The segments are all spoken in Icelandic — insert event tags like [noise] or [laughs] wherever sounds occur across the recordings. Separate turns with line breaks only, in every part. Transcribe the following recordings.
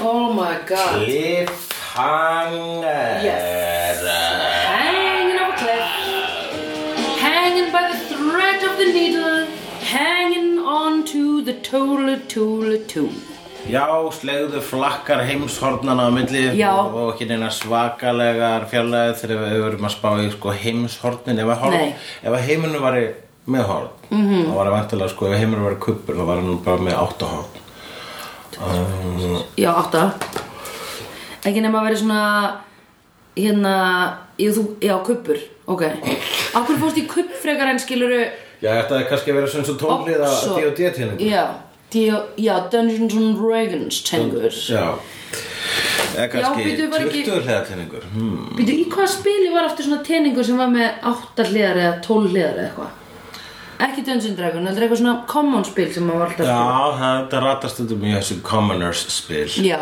Oh God.
Cliffhanger.
Yes. Hanging off a cliff. Hanging by the thread of the needle. Hanging on to the tola tola tool.
Já, slegðu flakkar heimshornana á milli
Já.
og, og ekki neina svakalegar fjarlæði þegar við höfum að spá í sko, heimshornin ef að, horn,
Nei. Mhm.
ef að heiminu var með horn mm -hmm. þá var það vantilega sko, ef heiminu var kuppur þá var hann bara með átta horn um,
Já, átta Ekki nema að vera svona Hérna jú, þú, Já, kuppur, ok Akkur fórst í kupp frekar en skiluru
Já, þetta er kannski að vera svona svo tónlið að
Oxo-
D.O.D. tíðningu
Já, D- já Dungeons and Dragons tengur
Já Eða kannski
býtu, var ekki-
20 hliða tíðningur hmm.
Býtu, í hvaða spili var aftur svona teningur sem var með átta hliðar eða tól hliðar eða eitthvað Ekki Dungeons and Dragons, heldur eitthvað svona common spil sem maður var alltaf að spila.
Já, þetta ratast þetta mjög þessu commoners spil
Já,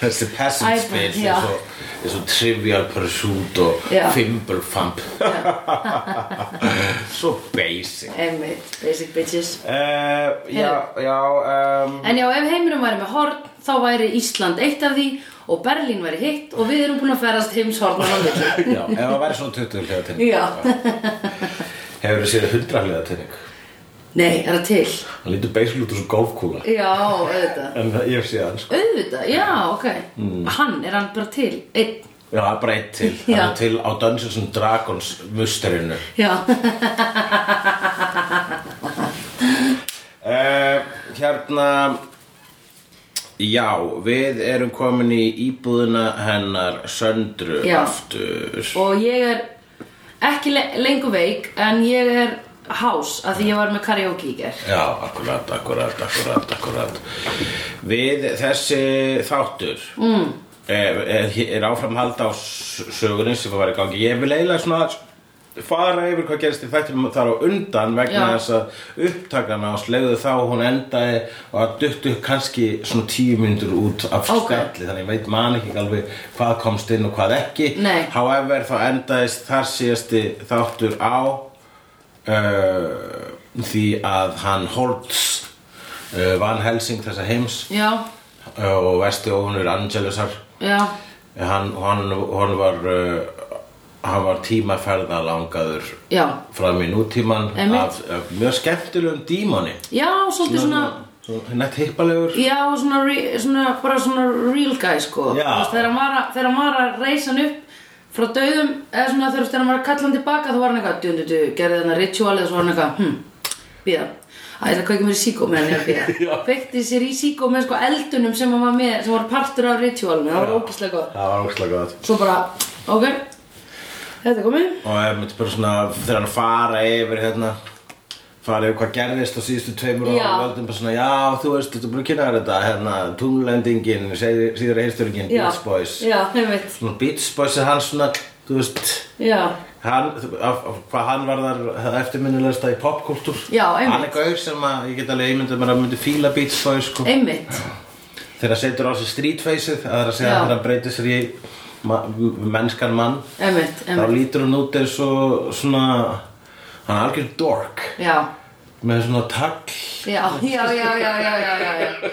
þessi
Æ,
peasant spil
já.
eins og- eins og Trivial Pursuit og
Já. [laughs]
Fimbulfamp [laughs] svo basic
einmitt, basic bitches
uh, já, já
[laughs]
um,
En já, ef heimurum væri með horn, þá væri Ísland eitt af því og Berlín væri hitt og við erum búin að ferast heimshornan á milli.
já, ef það væri svona 20 hliða tenning [laughs]
Já.
hefur þið séð 100 hliða tenning
Nei, er það til?
hann lítur basically út úr svo golfkúla
Já, auðvitað.
en það- ég sé hann sko
Auðvitað, já, ok. Hann, er hann bara til? Einn,
já, það er bara eitt til
Já.
hann er til á Dungeons and Dragons musterinu
já.
Uh, hérna Já, við erum komin í íbúðina hennar söndru
Já.
aftur
Og ég er ekki le lengur veik, en ég er hás að því ég var með karaoke í gerð.
Já, akkurat, akkurat, akkurat, akkurat Við þessi þáttur mm. er, er, er áframhald á s- sögunni sem var í gangi Ég vil eiginlega svona fara yfir hvað gerist í þættinum þar á undan vegna
Já.
þess að upptakana á slegðu þá hún endaði og að duttu kannski svona tíu myndur út af
Ok.
skalli þannig ég veit man ekki alveg hvað komst inn og hvað ekki
Nei.
however þá endaðist þar síðasti þáttur á uh, því að hann Holtz uh, vann Helsing þessa heims
Já,
uh, og vesti óhunur Angelusar Eh,
já,
hann, hann, hann var uh, hann var tímaferða langaður
já.
fram í nútíman
Einmitt.
af, af mjög skemmtilegum dímoni
Já, svolítið svona...
nett hippalegur
Já, og svona, re- svona, bara svona real guy sko
Já.
Þú veist, þegar, hann var að, þegar hann var að reisa hann upp frá dauðum eða svona þegar, þegar hann var að kalla hann tilbaka þá var hann eitthvað djú, djú, djú, gerði hann ritual eða svo var hann eitthvað hm, býða Æ, það kveikir mér í síkó með hann ég að býða Kveikti sér í síkó með sko eldunum sem hann var með sem voru partur af ritualinu það var ókislega góð
það var óslega gott
Svo bara, ok, þetta er komið
og er mitt bara svona þegar hann fara yfir hérna fara yfir hvað gerðist á síðustu tveimur
Já.
og völdum bara svona já þú veist þetta er búin að kynna þér þetta hérna tunglendingin síðar heistöringin
Já.
Beach Boys
Já, einmitt
svona Beach Boys er hann svona þú veist
Já,
hann af, af, hvað hann var þar eftirminnilegasta í popkultúr
Já, einmitt.
hann er gaur sem að ég get alveg ímyndað mér að myndi fíla Beach Boys sko
einmitt
þegar hann setur á sig street faceið það er að segja
Já.
þegar hann breytir sér í ma mennskan mann
Einmitt,
þá
einmitt
lítur hann út eins og svona hann er algjör dork
Já,
með svona tagl
já, já, já, já, já, já, já, já.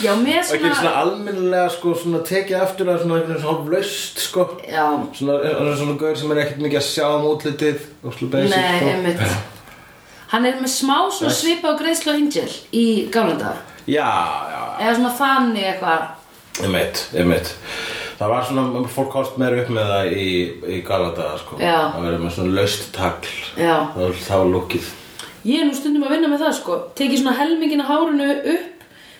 Já, með
og ekki svona almennilega sko svona tekið aftur að svona einhvern veginn svona hálflaust sko
Já,
svona, svona, svona gaur sem er ekkert mikið að sjá um útlitið og svona basic
nei,
sko.
einmitt Hann er með smá svona svipa á greiðslu og Angel í gamla dag
já, já,
Eða svona þannig eitthvað
einmitt, einmitt það var svona, fólk hóst meira upp með það í, í galadaða sko
Já.
það verið með svona laust tagl
Já.
það var, það var lukkið
Ég er nú stundum að vinna með það sko Tekið svona helmingina hárunu upp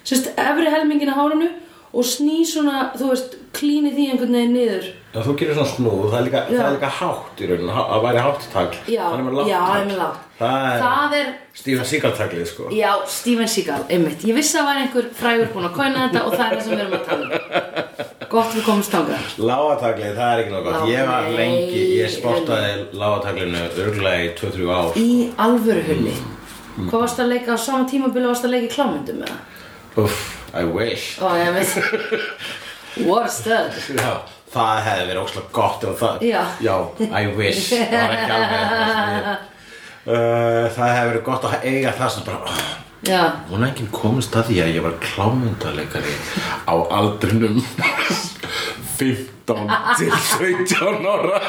Sérst, efri helmingina hárunu Og sný svona, þú veist, klíni því einhvern veginn niður
Já, þú gerir svona snúð, það er líka,
Já.
það er líka hátt í raunin, að væri hátt tagl
Já,
það er með lágt
já,
tagl.
er með lágt.
Það er,
Það er-
Steven Seagal taglið, sko
Já, Steven Seagal, einmitt Ég vissi að það var einhver frægur búinn að kóna þetta Og það er það sem við erum að tala um Gott við komumst þangað
Láataglið, það er ekki nokkuð gott Ég var
Nei.
lengi, ég sportaði láataglinu örgulega í 2-3 ár
Í alvöru hulli Hvað varst að leika á sama tímabili Varst að leika í klámyndum eða?
Uff, I wish
Ó, ég veit What a stud
Já, það hefði verið óslega gott ef það,
Já.
I wish
[laughs]
Það var ekki alveg það sem ég- Uh, það hefði verið gott að eiga það sem bara oh,
já,
Hún enginn komist að því að ég var klámyndaleikari á aldrinum [laughs] 15 til 17 ára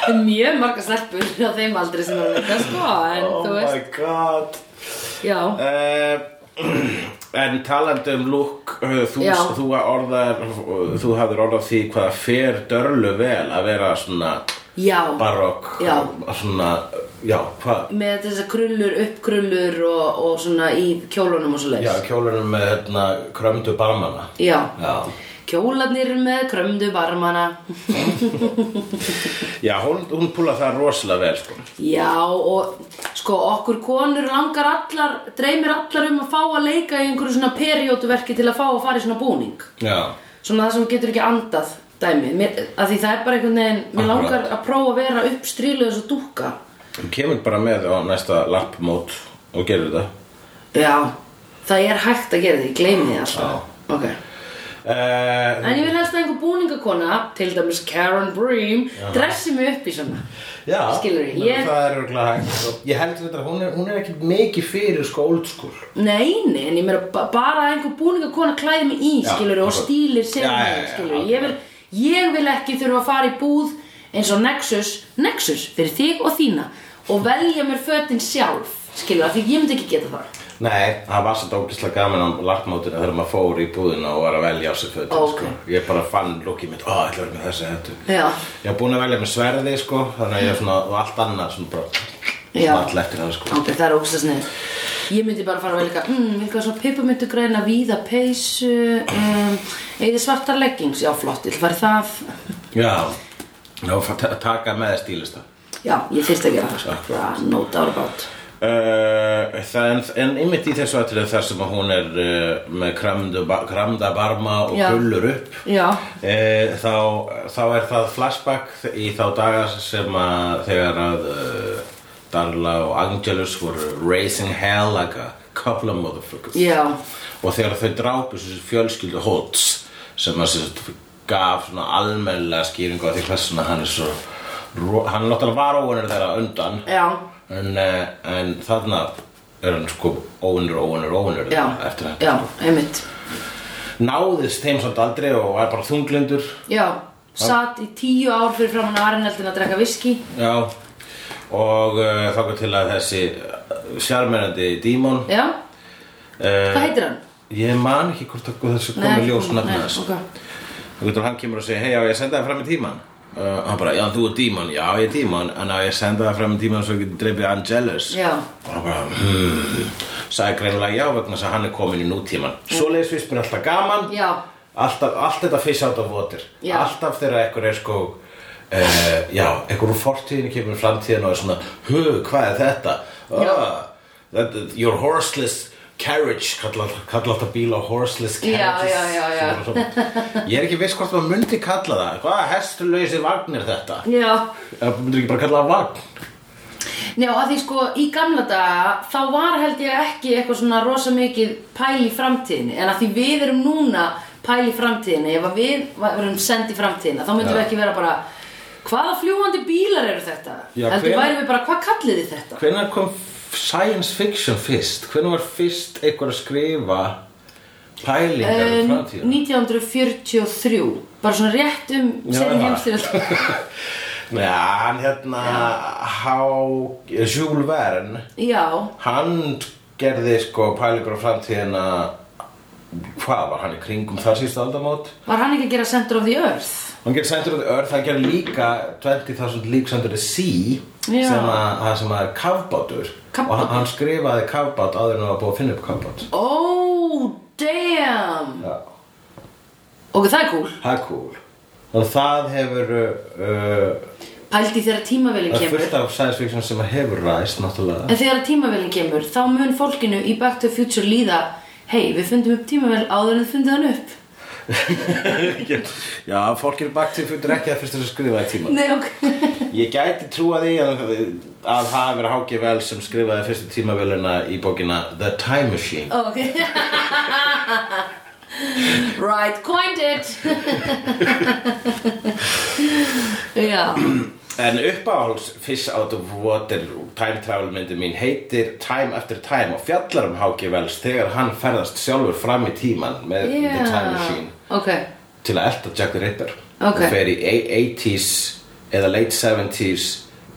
það er mjög marga stelpur á þeim aldrei sem eru að leika sko, en þú veist,
Oh god
já,
uh, En talandi um lúk uh, þú,
Já.
þú, orðar, þú hafðir orðað því hvaða fer dörlu vel að vera svona
já,
barokk
Já.
svona, já, hvað
með þessar krullur, uppkrullur og, og svona í kjólunum og svo
Já,
leiðis.
kjólunum með hérna, krömdu barmana
Já.
Já,
Kjólarnir með krömdu barmana.
já hún, hún púla það rosalega vel sko.
Já, og sko okkur konur langar allar, dreymir allar um að fá að leika í einhverju svona perióduverki til að fá að fara í svona búning.
Já,
Svona það sem getur ekki andað dæmi. Mér, að því það er bara einhvern veginn, mér
Akkurat.
langar að prófa að vera uppstríluð eins og dúkka.
hún kemur bara með á næsta lappmót og gerir þetta
Já, það er hægt að gera því, ég gleymi því alltaf.
Já.
Ok.
uh,
En ég vil helst að einhver búningakona, til dæmis Karen Bream, dressi mig upp í svona.
Já,
Skilurðu,
menn,
ég-
það er örugglega hægt og Ég held þetta, hún er, hún er ekki mikið fyrir sko old school
Nei, nei, en ég meira ba- bara að einhver búningakona klæði mig í,
Já,
skilur, og
akkurat.
stílir sem
Já, já,
mig,
já,
skilur.
akkurat.
Ég vil, ég vil ekki þurfa að fara í búð eins og Nexus, Nexus, fyrir þig og þína, og velja mér fötin sjálf, skilur, af því ég myndi ekki geta það.
Nei, það var svolítið ógislega gaman á lartmótinu þegar maður fór í búðina og var að velja á sig fötin
Ó,
sko. Ég bara fann lukkið mitt, ó, ætla að vera með þessi hættu
Já,
Ég var búin að velja með sverði, sko, þannig að ég var svona, og allt annað, svona bara,
Já.
all eftir það, sko
ok, það er ógstast neður. Ég myndi bara fara að velja, mm, eitthvað svona pippamöndugræna, víða peysu, um, eða svartar leggings, já, flott, ég vil fara í það.
Já, já, fa- ta- taka með stílista
Já, ég þyrst að gera það sko. Bara no doubt about
Uh, það, en, en einmitt í þessu atrið þar sem að hún er uh, með kramdu, ba kramda barma og
Já.
gullur upp
Já,
uh, þá, þá er það flashback í þá daga sem að þegar að uh, Darla og Angelus voru raising hell like a couple of motherfuckers
já,
og þegar þau drápu þessu fjölskyldu Holtz sem að sem gaf svona almennilega skýringu á því hvað svona hann er svo ro- hann náttúrulega var óunur þeirra undan
Já.
en, eh, en þarna er hann sko óunur, óunur, óunur
já,
þeirra eftir þetta
já, einmitt
náðist þeim svolítið aldrei og var bara þunglindur
Já, satt í tíu ár fyrir framan að Arneldin að drekka viski
já og uh, þáka til að þessi sjármennandi dímon
Já, hvað
uh,
heitir hann?
ég man ekki hvort að þessu komið ljós nafnið
nei,
þessu
ok
Þú getur hann kemur og segir, hei, á ég að senda það fram í tíman? Uh, hann bara, já, þú er tíman, já, ég er tíman, en á ég að senda það fram í tíman svo ég getur dreipið Angelus?
Já,
Og hann bara, hmm, sagði greinilega já, vegna þess að hann er komin í nútíman. Svoleiðis vispur er alltaf gaman,
Já.
alltaf, allt þetta fiss átt á votir.
Já.
Alltaf þegar eitthvað er sko, uh, já, eitthvað úr fortíðinu kemur í framtíðinu og er svona, hö, hvað er þetta?
Já.
Ah, that, your horseless carriage, kalla kalla alltaf bíla horseless
Já,
carriages.
já, já, já.
Svo- svo- Ég er ekki viss hvort maður myndi kalla það. Hvaða hestulausi vagn er þetta?
já
Það myndir ekki bara kalla það vagn.
Já, að því sko í gamla daga þá var held ég ekki eitthvað svona rosa mikið pæl í framtíðinni en að því við erum núna pæl í framtíðinni ef að við verum send í framtíðina þá myndum
Já.
við ekki vera bara hvaða fljúandi bílar eru þetta?
Já,
Heldur
hver-
værum við bara hvað kallið þið þetta?
Hvenær kom f- science fiction fyrst? Hvenær var fyrst einhver að skrifa pælingar
Um,
um framtíðina?
1943 bara svona rétt um
Já,
setni
já.
heimstyrjöld
[laughs] Nei, hann hérna, Há, Jules Verne,
já,
hann gerði sko pælingar um framtíðina, hvað var hann í kringum þar síðust aldamót?
var hann ekki að gera Center of the Earth
Hann gerði Center of the Earth, hann gerði líka 20.000 Leagues Under the Sea
Já.
sem að, það sem að er kafbátur og hann,
Kafbátur?
hann skrifaði kafbát áður en það var búið að finna upp kafbát
oh damn
Já,
ok það er cool,
það er cool og það hefur uh,
pældi þegar tímavélin
það er
kemur
fullt af science fiction sem að hefur ræst náttúrulega
[laughs] en þegar tímavélin kemur þá mun fólkinu í Back to the Future líða hei við fundum upp tímavél áður en þið fundið hann upp
Já, fólk eru bakt til fyrir ekki að fyrst þess að skrifa í tíma
nei ok [laughs]
Ég gæti trúa því að, að það hafi verið H.G. Wells sem skrifaði fyrstu tímaveluna í bókina The Time Machine
ok [laughs] right coined it [laughs] já
En uppáhalds Fish Out of Water time travel myndi mín heitir Time After Time og fjallar um H.G. Wells þegar hann ferðast sjálfur fram í tíman með The Time Machine
ok,
til að elda Jack the Ripper
Ok.
og fer í a- 80s eða late 70s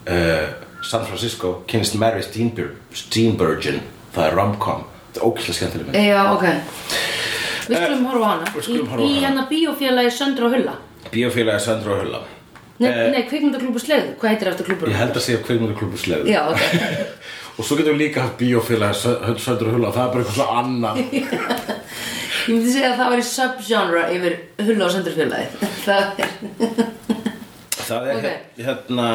uh, San Francisco kynist Mary Steenbur Steenburgen það er rom-com þetta er ókvæslega skemmtileg mynd
já, ok Við skulum horfa á hana
Eh, við skulum
Í-
horfa á
Í
hana.
hérna bíófélagi Söndra og Hulla
Bíófélagi Sandra og Hulla
Nei, nei kvikmyndaklúbu slegðu, hvað heitir eftir klúbur?
Eh, ég held að segja hvernig klubur slegur
Já, ok
og svo getum við líka haft bíófélagi Sö- Sandra og Hulla það er bara eitthvað svo annað
[laughs] Ég myndi segja að það væri subgenre yfir Hulla og Söndra félagi [laughs] Það er
Það er
Ok.
hérna,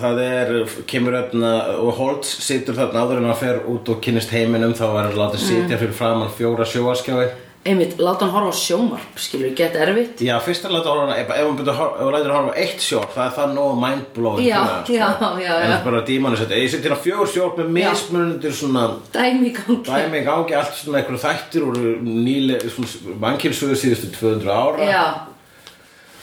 það er, kemur hérna og Holtz situr þarna áður en hann fer út og kynnist heiminum þá er hann látið
Mm.
sitja fyrir framann fjóra sjóaskjáði
Einmitt, láta hann horfa á sjónvarp, skilur, get erfitt
Já, fyrst er látið að horfa, ef ef hann byrja að horfa, ef hann lætur að horfa á eitt sjór það er það nóg mindblowing
Já,
fyrir hann,
já,
sko.
já,
En
já.
það er bara dímanu setja, ég setja hérna fjór sjór með
Já.
mismunundir svona
Dæmi í gangi [laughs]
dæmi í gangi allt svona einhverju þættir úr nýle, svona mannkilsuðu síðustu 200 ára
Já,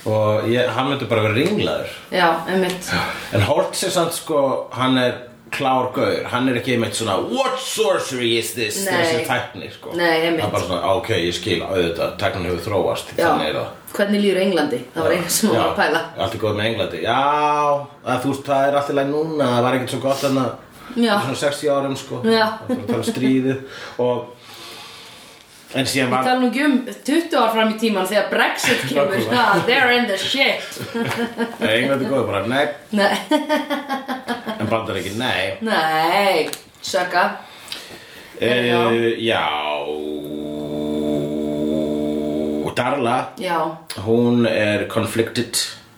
og ég, hann myndi bara vera ringlaður
já, einmitt
En Holtz er samt sko, hann er klár gaur, hann er ekki einmitt svona What sorcery is this?
Nei.
Þessi tækni sko
Nei, einmitt.
Hann bara svona, "Á, ok, ég skil auðvitað, tæknin hefur þróast
Já,
Þannig er það
hvernig líður Englandi? Það var einhver sem
Já,
var að pæla
Allt er góð með Englandi Já, að þú veist, það er allt í lagi núna Það var ekkert svo gott þarna
Já.
fyrir Svona 60 árum sko
Já.
Það er að tala um stríðið Og En síðan
Ég
var
tala nú ekki um 20 ár fram í tíman þegar Brexit kemur
Nákvæmlega.
ah, They're in the shit
Englandi góð bara, nei
Nei,
En bandar ekki, nei
nei, sökka Já.
Eh, Já Darla
Já,
Hún er conflicted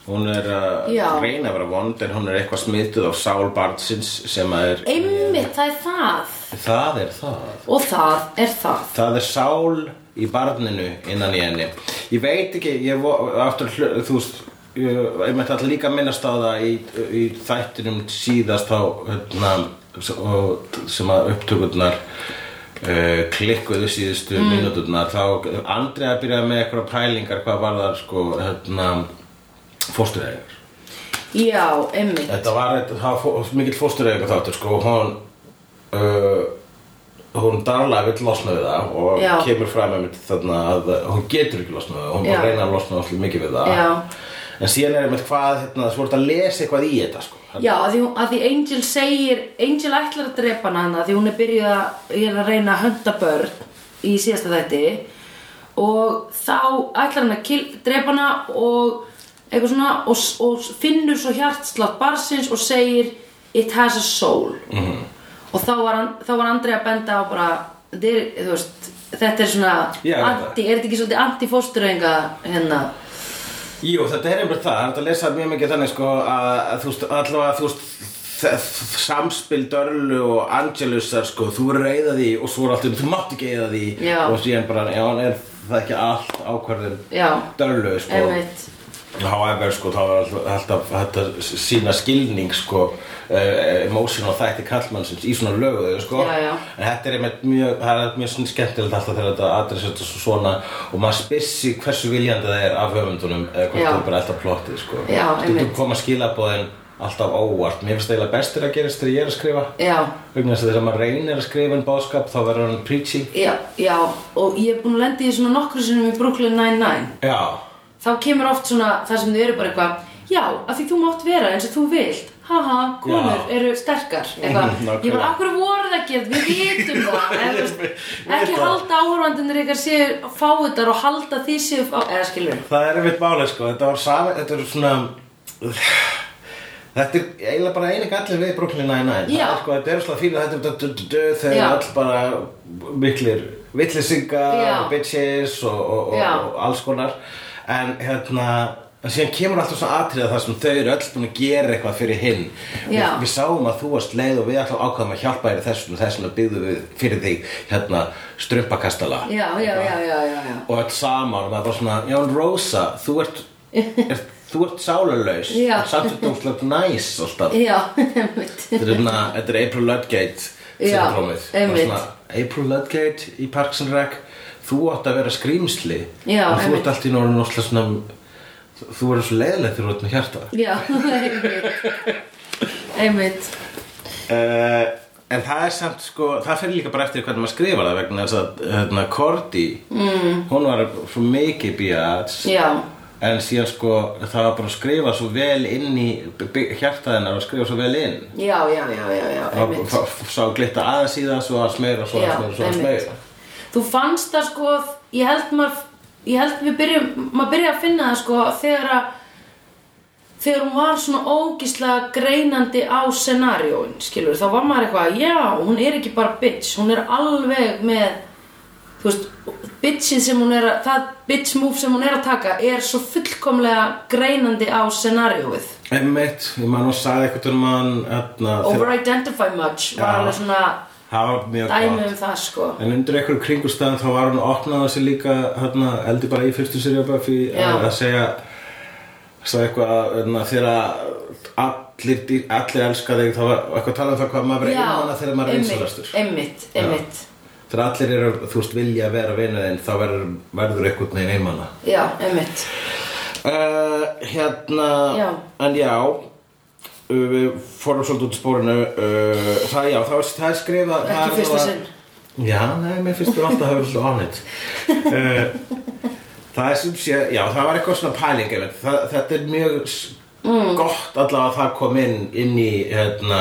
Hún er að
Já.
reyna að vera vond En hún er eitthvað smituð á sál barnsins Sem að er
einmitt, það er það
Það er það
Og það er það
Það er sál í barninu innan í henni Ég veit ekki ég vo- aftur, hlu- Þú veist Ég, ég mætti alltaf líka að minnast á það í, í þættinum síðast þá hérna, og- sem að upptökurnar uh, klikkuðu síðustu mm. mínúturnar þá Andrea byrjaði með eitthvað pælingar hvað var það sko hérna, fóstureyðingar
Já, einmitt
Þetta var, eitt- það var fó- mikill fóstureyðingar þáttur sko hún uh, hún darla vill losna við það og
Já.
kemur fram einmitt þarna að hún getur ekki losna við það hún
Já.
bara reyna að losna allir mikið við það
Já.
en síðan er einmitt hvað hérna, þú ert að lesa eitthvað í þetta sko
Já, að því, hún- að því Angel segir Angel ætlar að drepa hana hana því hún er byrjuð að, ég er að reyna að hönda börn í síðasta þætti og þá ætlar hann að kill, drepa hana og eitthvað svona og, s- og s- finnur svo hjartslátt barsins og segir it has a soul -hmm. og þá var, hann- þá var Andri að benda á bara þetta er, þú veist, þetta er svona
Já, ég veit það.
anti, er þetta ekki svolítið anti-fósturöðinga hérna
Jú, þetta er einmitt það, það er hægt að lesa mjög mikið þannig sko að, að þú veist, allavega þú veist þ- þ- samspil Dörlu og Angelusar sko, þú verður að eyða því og svo er allt um, þú mátt ekki eyða því
Já.
og síðan bara, já, er það ekki allt ákvarðin
Já.
Dörlu sko
einmitt
However, sko, þá var all- alltaf þetta sína skilning, sko, uh, emotional þætti kallmannsins í svona löguðu, sko.
Já, já.
En þetta er einmitt mjög, það er mjög svona skemmtilegt alltaf þegar þetta adressert og svona og maður spyrsi hversu viljandi það er af höfundunum eða hvort
Já.
það er bara alltaf plottið, sko.
Já,
Stundum
einmitt.
koma skilaboðin alltaf óvart. Mér finnst eiginlega bestir að gerast þegar ég er að skrifa.
Já
Vegna þess að þegar maður reynir að skrifa en báðskap þá verður hann preachy.
Já, já, og ég er búin að lenda í því svona nokkru sinnum í Brooklyn Nine-Nine
Já,
Þá kemur oft svona það sem þau eru bara eitthvað Já, af því þú mátt vera eins og þú vilt Haha, konur
Já.
eru sterkar Eitthvað,
Mhm,
ég
[laughs] nákvæmlega.
bara, akkur voru það ekki Við vitum
[laughs]
það en, þú veist, Ekki
það.
halda áhörvandunir ykkar séu fáiðar og halda því séu fá... Eða skilur
Það er einmitt málið sko, þetta var sami, þetta er svona Þetta er eiginlega bara eini gallin við Brooklyn Nine-Nine
Já.
Það er sko, þetta er svona fínu, þetta er dö- dö- dö- þegar
Já.
all bara miklir villisingar
Já.
og bitches og, og,
Já.
og, og alls konar En hérna, en síðan kemur alltaf svona atriða þar sem þau eru öll búin að gera eitthvað fyrir hinn við,
Já.
við sáum að þú varst leið og við alltaf ákvaðum að hjálpa þér í þessum og þessum að byggðu við fyrir þig hérna strumpakastala
Já, já, já, já, já, já.
og öll saman og það var svona, já en Rosa, þú
[laughs]
ert, ert þú ert sálarlaus
Já.
en samt er dómslega næs alltaf
Já, [laughs] einmitt
þetta er svona, þetta er April Ludgate
Já,
syndrómið. Það er
einmitt.
svona, April Ludgate í Parks and Rec þú átt að vera skrýmsli
Já,
en þú
einmitt.
ert allt í norðin óslega svona Þú verður svo leiðilegt þegar þú ert með hjarta
Já, einmitt
[laughs]
Einmitt
uh, En það er samt sko Það fyrir líka bara eftir hvernig maður skrifar það vegna þess að hérna, Korti mm. Hún var svo mikið bíats
Já,
En síðan sko það var bara að skrifa svo vel inn í hjartaðinnar og skrifa svo vel inn
já, já, já, já, já
Það
einmitt
var- f- sá glitta aðeins í það svo að smeyra, svo að
Já,
smeyra, svo að
einmitt.
smeyra
Þú fannst það sko Ég held maður Ég held við byrjum Maður byrja að finna það sko Þegar að Þegar hún var svona ógíslega greinandi á scenarióin, skilur, þá var maður eitthvað, já, hún er ekki bara bitch, hún er alveg með, þú veist, bitchin sem hún er að, það bitch move sem hún er að taka er svo fullkomlega greinandi á scenarióið.
Einmitt, ég man og sagði eitthvað um hann hérna, þegar-
Over-identify much var
Já.
alveg svona
Það var mjög
dæmi
gott
um það, sko.
En undir einhverjum kringustæðan þá var hún að opna þessi líka hérna, eldi bara í fyrstu serið Buffy
Já.
að að segja sagði eitthvað að, hérna, þegar að allir, dýr- allir elska þig þá var eitthvað talað um það hvað maður verið einmana þegar maður er
einmitt,
einsalastur
Einmitt, einmitt,
Þegar allir eru, þú veist, vilja vera vinur þinn þá verður, verður eitthvað neginn einmana
já, einmitt.
uh, Hérna
Já.
En já uh, Við fórum svolítið út í spórinu uh, Það já, það, var, það er skrifa
Ekki fyrsta sinn.
Já, nei, mér finnst þú alltaf að hafa verið svo ánit uh, Það er sem sé Já, það var eitthvað svona pæling einmitt. það, Þetta er mjög mm. gott allavega að það kom inn inn í hérna,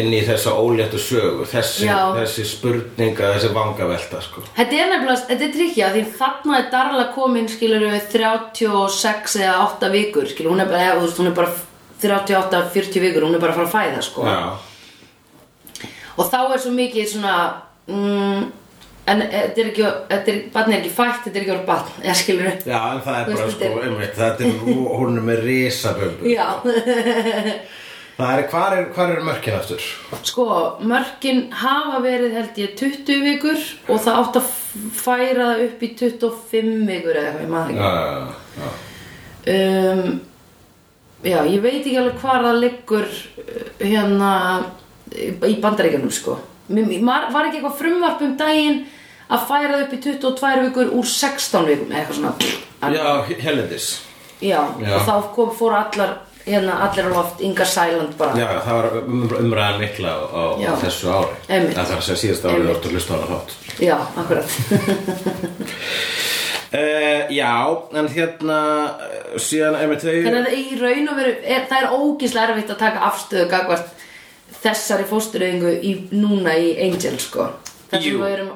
inn í þessa óléttu sögu þessi,
Já.
þessi spurninga, þessi vangavelta sko.
Þetta er nefnilega, þetta er tryggja því þarna er Darla komin, skilur við 36 eða 8 vikur, skilur, hún er bara, eða, þú veist, hún er bara 38-40 vikur, hún er bara að fara að fæða, sko.
Já,
og þá er svo mikið svona mm, en e, þetta er ekki þetta er, barn er ekki fætt, þetta er ekki orð barn eða skilur við
Já, en það er
Þú
bara
veist,
sko,
þetta
einmitt, þetta er rú- hún er með risabömbu.
já,
Það er, hvar er, hvar er mörkin aftur?
sko, mörkin hafa verið held ég 20 vikur og það átt að færa það upp í 25 vikur eða eitthvað, ég maður
Já, já, já.
ekki um, já, ég veit ekki alveg hvar það liggur uh, hérna í bandaríkjanum sko Mér- mér- var var ekki eitthvað frumvarp um daginn að færa það upp í 22 vikur úr 16 vikum eða eitthvað svona
Já, helendis.
Já,
Já.
og þá kom, fór allar hérna, allir á loft, Inga Sæland bara
Já, það var um- umræðan mikla á, á
Já.
þessu ári.
Einmitt.
Það þarf að segja síðast árið
Einmitt.
átt að hlusta á hana þátt.
Já, akkurat
Uh, já, en hérna, eh, síðan, einmitt þau...
Þannig að í raun og veru, er, það er ógislega erfitt að taka afstöðu gagvart þessari fóstureyðingu í, núna í Angel, sko Þar sem
Jú.
við erum,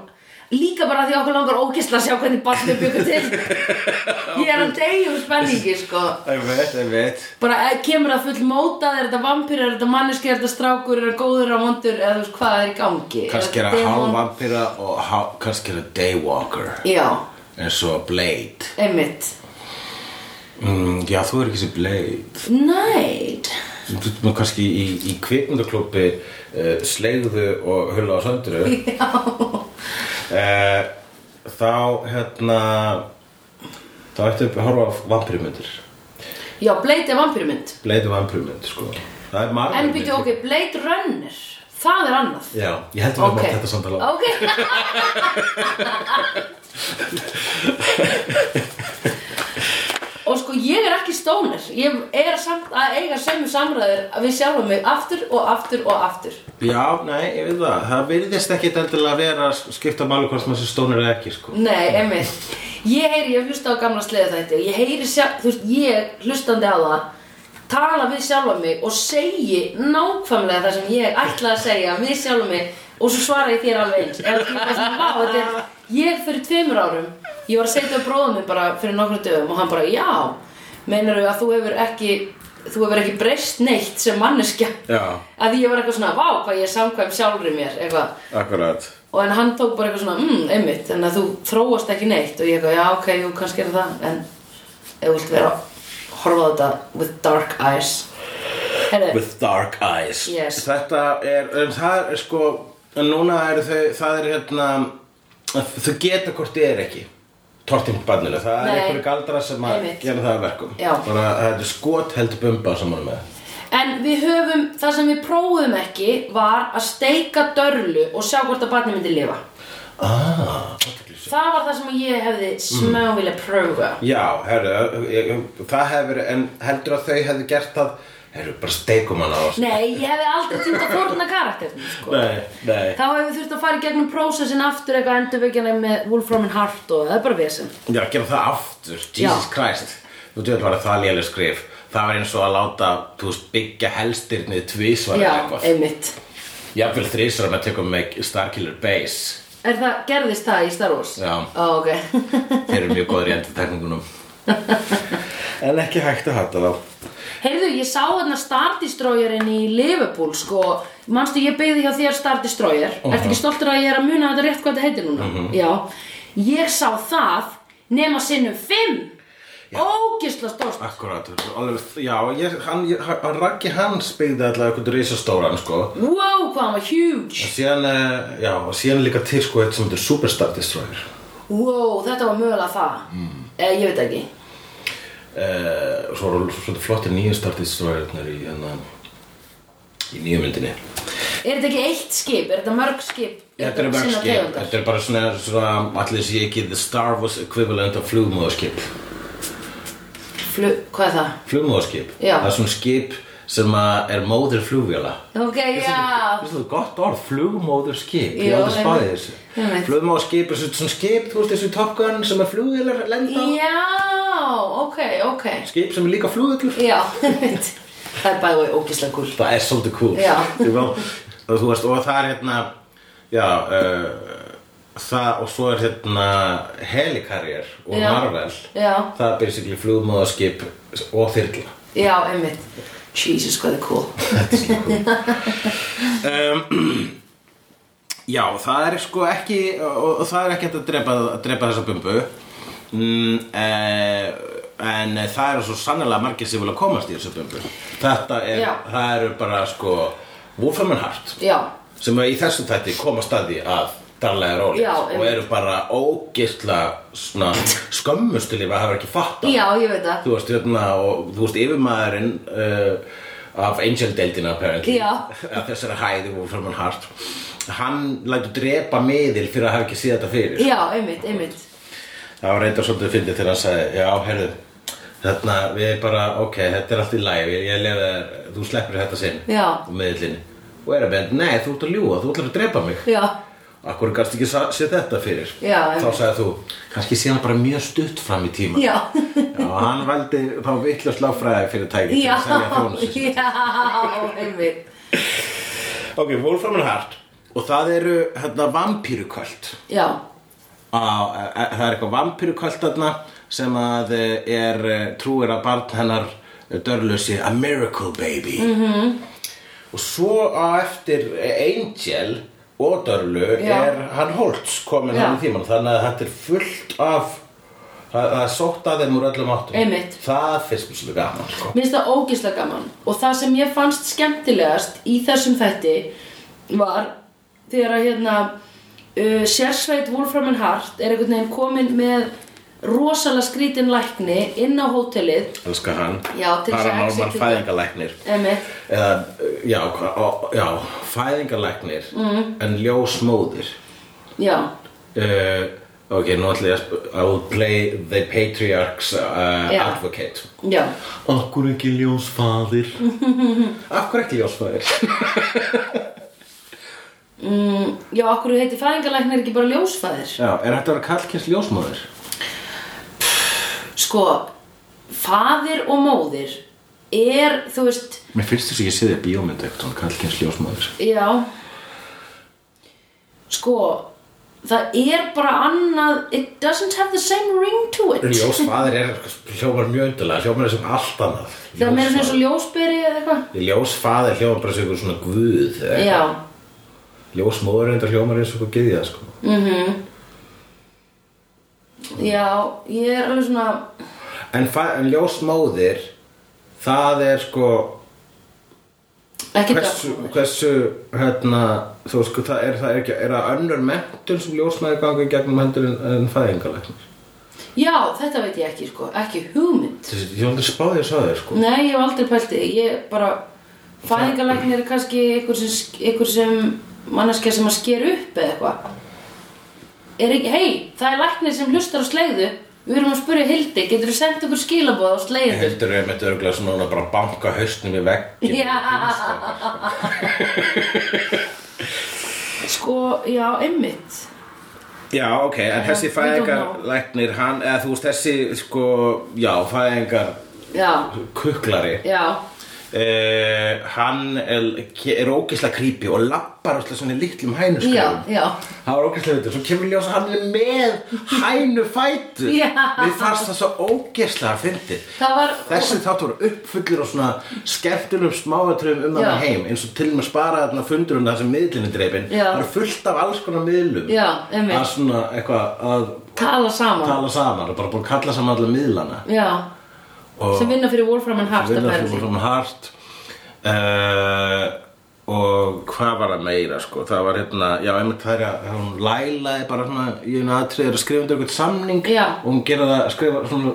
Líka bara því að okkur langar ógislega að sjá hvernig barnið byggur
[laughs]
til Ég er að deyja um spenningi, sko
Einmitt, einmitt.
Bara eh, kemur það full mótað, er þetta vampýr, er þetta manneski, er þetta strákur, er þetta góður á vondur Eða þú veist hvað er í gangi Er
Kannski er
þetta
að
demon?
hálfvampira og há, kannski er að daywalker.
Já,
eins og Blade.
einmitt
Mm, já, þú er ekki sem Blade.
Night
sem þú erum kannski í, í kvikmyndaklubbi uh, sleigðu og hulla á söndru
Já
uh, þá hérna þá ættu að horfa á vampirmyndir
Já, Blade er vampýrmynd
bleiðu vampirmynd sko það er margir
En býttu, ok, Blade Runner Það er annað
já, ég heldur að
Ok,
okay. þetta samtala
ok
[laughs]
Og sko, ég er ekki stónir Ég er samt að eiga sömu samræður Við sjálfum mig aftur og aftur og aftur
já, nei, ég veit það það virðist ekki endilega vera að skipta máli hvort maður sem stónir eða ekki sko
Nei, einmitt Ég heyri, ég hlusta á gamla sleða þætti Ég heyri, sjálf, þú veist, ég hlustandi á það Tala við sjálfa mig og segi nákvæmlega það sem ég ætla að segja við sjálfa mig og svo svara ég þér alveg eins Eða því að vá, þetta er Ég fyrir tveimur árum Ég var að segja þetta á bróðum minn bara fyrir nokkrum dögum og hann bara, já Meinar að þú hefur ekki þú hefur ekki breyst neitt sem manneskja
Já.
Að því ég var eitthvað svona, vá, hvað ég er samkvæm sjálfri mér eitthvað
akkurat
og en hann tók bara eitthvað svona, mm, einmitt en að þú þróast ekki neitt og ég eitthvað, já, ok, jú, kannski er það en ef þú vilt vera að horfa á þetta with dark eyes herru,
With dark eyes
Yes.
Þetta er, um, það er sko en Núna eru þau, það er hérna Þau geta hvort þið er ekki Tortimt barninu, það er
Nei.
einhverju galdra sem að
Einmitt.
gera það að verkum
Já.
Bara þetta er skot held bumba sem hann er með
en við höfum það sem við prófum ekki var að steika dörlu og sjá hvort að barni myndi lifa
Ah, Mm. athyglis-
Það var það sem ég hefði smá vilja pröfa.
Já, herru, ég, það hefur, en heldur að þau hefðu gert það, herru, bara steikum hann á sko. oss.
Nei, ég hefði aldrei týnt að forna karakterinu, sko.
Nei, nei.
Þá hefur þurft að fara í gegnum prósessin aftur eitthvað endurveikjana með Wolfram and Hart og það er bara vesen.
Já, gera það aftur, Jesus
Já.
Christ. Þú veit bara það lélega skrif. Það var eins og að láta, þú veist, byggja helstirnið tvísvar
Já,
eða eitthvað.
einmitt.
Jafnvel þrísar að maður tekum með Starkiller Base.
Er það, gerðist það í Star Wars?
Já.
Ó, ok. [laughs]
Þeir eru mjög góður í endurtekningunum. en ekki hægt að hata þá.
Heyrðu, ég sá hérna Star Destroyerin í Liverpool, sko. Manstu, ég beigði hjá þér Star Destroyer. Uh Ertu ekki stoltur að ég er að muna þetta rétt hvað þetta heitir núna?
Mhm.
Já. Ég sá það nema sinnum fimm. Ógisla stórt.
Akkurát, já, ég, hann, ég, hann, Raggi Hans byggði allavega eitthvað risastóran, sko.
Wow, hvað hann var huge.
Og síðan, eh, já, og síðan líka til sko eitt sem þetta er Superstar Destroyer
Wow, þetta var mögulega það. Mm. Eh, ég veit ekki.
uh, Svo eru svolítið flottir nýju Star Destroyernar í, hérna, í nýju myndinni
Er þetta ekki eitt skip? Er þetta mörg skip?
Þetta er bara
sinna
skip,
tegundar?
þetta er bara svona, svona allir sé ekki The Star Wars equivalent of flugmóðarskip
Flu, hvað er það?
Flugmóðarskip,
Já.
það er svona skip sem að er móðir flugvéla
Ok, já.
Þetta er gott orð, flugmóðarskip, ég
Jú,
hef aldrei spáði
einmitt.
þessu
Einmitt.
Flugmóðarskip er svona skip, þú veist þessu Top Gun sem er flugvélar lenda á
Já, ok, ok.
Skip sem er líka flugvélur
Já, [laughs] einmitt. það er bæðið ógislega gúl.
Það er svolítið cool
Já.
Ég vá, og Þú veist, og það er hérna Já uh, Það og svo er hérna Helikarrier og
Já.
Marvel
Já.
Það er basically flugmóðaskip og þyrla
Já, einmitt. Jesus, hvað er cool.
Já, það er sko ekki og, og það er ekki hægt að drepa, að drepa þessa bumbu mm, eh, En það eru svo sannlega margir sem vilja komast í þessa bumbu Þetta er,
Já.
það eru bara sko Wolfram and Hart
Já,
sem að í þessum þætti koma staði að darlega róli
Já,
og
einmitt.
eru bara ógisla svona, skömmustil yfir að hafa ekki fatta
já, ég veit það.
þú veist hérna og þú veist yfirmaðurinn uh, af Angel deildina apparently
Já.
Af þessari hæði og framann hart hann lætur drepa miðil fyrir að hafa ekki séð þetta fyrir
Já, einmitt, einmitt.
það var reyndar svolítið fyndið þegar hann sagði já, herðu, þarna við bara ok, þetta er allt í læg ég, ég lefa, þú sleppur þetta sinn
Já.
og miðillinni og er að benda, nei, þú ert að ljúga, þú ætlar að drepa mig
Já,
Akkur gafst ekki sa- séð þetta fyrir
Já,
Þá
einmitt.
sagði þú kannski sé hann bara mjög stutt fram í tíma
já.
Já, hann valdi þá vittlust láfræði fyrir tæki
Já, [laughs]
já
já, einmitt.
Ok, Wolfram and Hart Og það eru hérna vampíruköld
Já,
Á, e- e- Það er eitthvað vampíruköld þarna sem að e, er e, trúir að barn hennar e, dörlusi A Miracle Baby -hmm.
Mhm.
Og svo á eftir e, Angel og Dörlu
Já.
er hann Holtz komin
Já.
hann í tíman þannig að þetta er fullt af það það er sótt að þeim úr öllum áttum
Einmitt.
Það finnst mér svolítið gaman sko.
mér finnst það ógislega gaman. Og það sem ég fannst skemmtilegast í þessum þætti var þegar að hérna uh, sérsveit Wolfram and Hart er einhvern veginn komin með rosalega skrítin lækni inn á hótelið
Elskar hann
Já, til þess að
Paranormal
accepta-
fæðingalæknir
Einmitt.
eða, e, já, hva- ó- já fæðingalæknir mm.
Mhm.
en ljósmóðir
Já,
uh, ok, nú ætla ég að sp- I will play the patriarch's uh,
Já.
advocate
já,
Akkur ekki
[laughs]
ljósfaðir Akkur ekki ljósfaðir
já, okkur heitir fæðingalæknir ekki bara ljósfæðir
Já, er þetta að vera kallkins ljósmóðir?
Sko, fæðir og móðir er, þú veist,
Mér finnst þess að ég sé þið bíómyndu eitthvað kallkins ljósmóðir
já Sko, það er bara annað, it doesn't have the same ring to it
Ljósfaðir er hljómar mjög undarlega hljómar er sem allt annað
Það meira svona eins og ljósberi eða eitthvað
Ljósfaðir hljómar bara sem einhver svona guð eða
Já,
Ljósmóður reyndar hljómar eins og hvað geði það sko
já, ég er alveg svona,
En, fa- en ljósmóðir það er sko
ekki
hversu, hversu hérna, þú sko, það er, það er ekki er það önnur mentun sem ljósmæður ganga í gegnum hendur en, en fæðingalæknir
Já, þetta veit ég ekki, sko, ekki hugmynd
Þessi, ég aldrei spáði þess að þér sko
Nei, ég hef aldrei pælt í því. Ég bara, fæðingalæknir er kannski einhver sem, einhver sem manneskja sem að sker upp eða eitthvað. er ekki, hei, það er læknir sem hlustar á slegðu Við erum að spyrja Hildi, getur þú sendt okkur skilaboð á slegðu? [laughs]
Heldur er með örgulega svona hún að bara banka hausnum í vegg
Já [laughs] Sko, já, einmitt
Já, ok, en þessi
we don't
fæðingar
know.
læknir, hann, eða þú veist þessi, sko, já, fæðingar
Já,
kuklari
já,
Uh, hann er, er ógeðslega creepy og lappar ógeðslega svona í litlum
já,
hænuskröfum
já
Það var ógeðslega veitur, svo kemur ljós að hann er með hænufætur
Já.
Við fannst það svo ógeðslega fyndið
Það var,
Þessi þátt voru uppfullir og svona skemmtunum smáatröfum um
Já.
þarna heim eins og til og með að spara þarna fundurinn þar sem miðlinni dreipin
Já.
Það er fullt af alls konar miðlum
Já, einmitt.
að svona eitthvað að
tala saman
tala saman og bara búin að kalla saman alla miðlana
Já,
og
sem vinna fyrir Wolfram and Hart
vinna
apparently.
fyrir Wolfram Hart uh, og hvað var það meira sko, það var hérna já, einmitt það er að hún lælaði bara svona í einu aðtrið er að skrifa undir eitthvað samning
Já.
og hún gera það, skrifa svona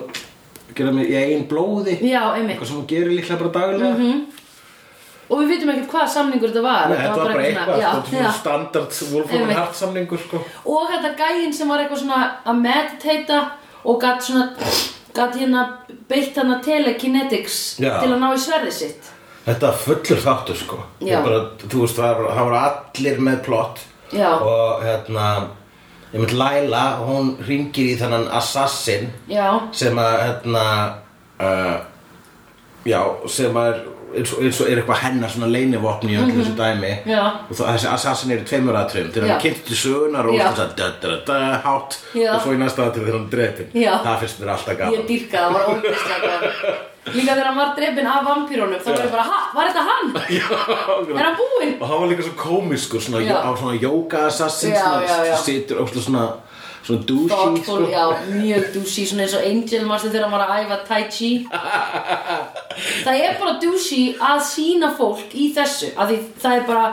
gera það í eigin blóði
Já, einmitt
eitthvað sem hún gerir líklega bara daglega
Og við vitum ekkert hvað samningur þetta var
Nei, þetta var bara
eitthvað svona- já,
eitthvað, sko, svona
já.
standard Wolfram
Einmitt.
and Hart samningur sko
Og þetta gæinn sem var eitthvað svona að meditata og gatt svona gatt hérna beitt hana telekinetics
Já.
til að ná í sverðið sitt
Þetta var fullur þáttur sko
Já.
Ég bara, Þú veist, það var- það voru allir með plott
Já.
Og hérna Ég mynd Laila, hún ringir í þannan assassin
Já,
Sem að, hérna uh, Já, sem að er eins og, eins og er eitthvað hennar svona leynivopn í öllu þessu dæmi
Mhm. Já.
og þá- þessi assassin eru tveimur aðtrum þegar hann
Já.
kynnti til sögunar og
Já.
þess að da, da, da, hát
Já.
og svo í næsta aðtrum þegar hann er drepinn
Já.
það finnst mér alltaf gaman
ég dýrka það var ógeðslega gaman. Líka þegar hann var drefin af vampýrónum þá var ég bara, ha, var þetta hann?
[laughs] Já,
Er hann búinn?
og hann var líka svo komiskur svona,
Já.
á svona yoga assassin
Já,
svona,
já, já.
situr og svona svona douchey sko.
Thoughtful, já, mjög douchey, svona eins og Angel marstu þegar hann var að æfa Tai Chi Það er bara douchey að sína fólk í þessu af því það er bara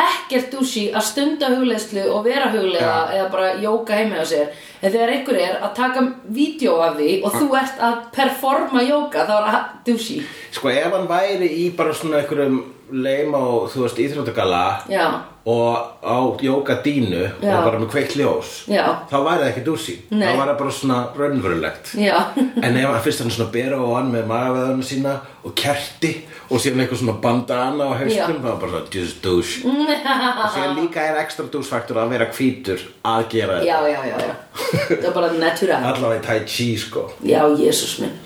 ekkert douchey að stunda hugleðslu og vera huglega
Já.
eða bara jóka heima á sér en þegar einhver er að taka vídeo af því og þú ert að performa jóka þá er það douchey
sko ef hann væri í bara svona einhverjum leim á þú veist íþróttagala
Já,
og á yoga dínu og
Já.
bara með kveikt ljós
Já.
þá væri það ekki douchey
Nei.
þá væri það bara svona raunverulegt
já, [laughs]
En ef hann fyrst hann svona bera á hann með magaveðanum sína og kerti og síðan eitthvað svona bandana á haustum,
Já.
það var bara svona just
[laughs]
douche. og síðan líka er ekstra douchefaktor að vera hvítur að gera
já,
þetta.
já, já, já. það er bara natural
Allavega í tai chi sko.
Já, jésus minn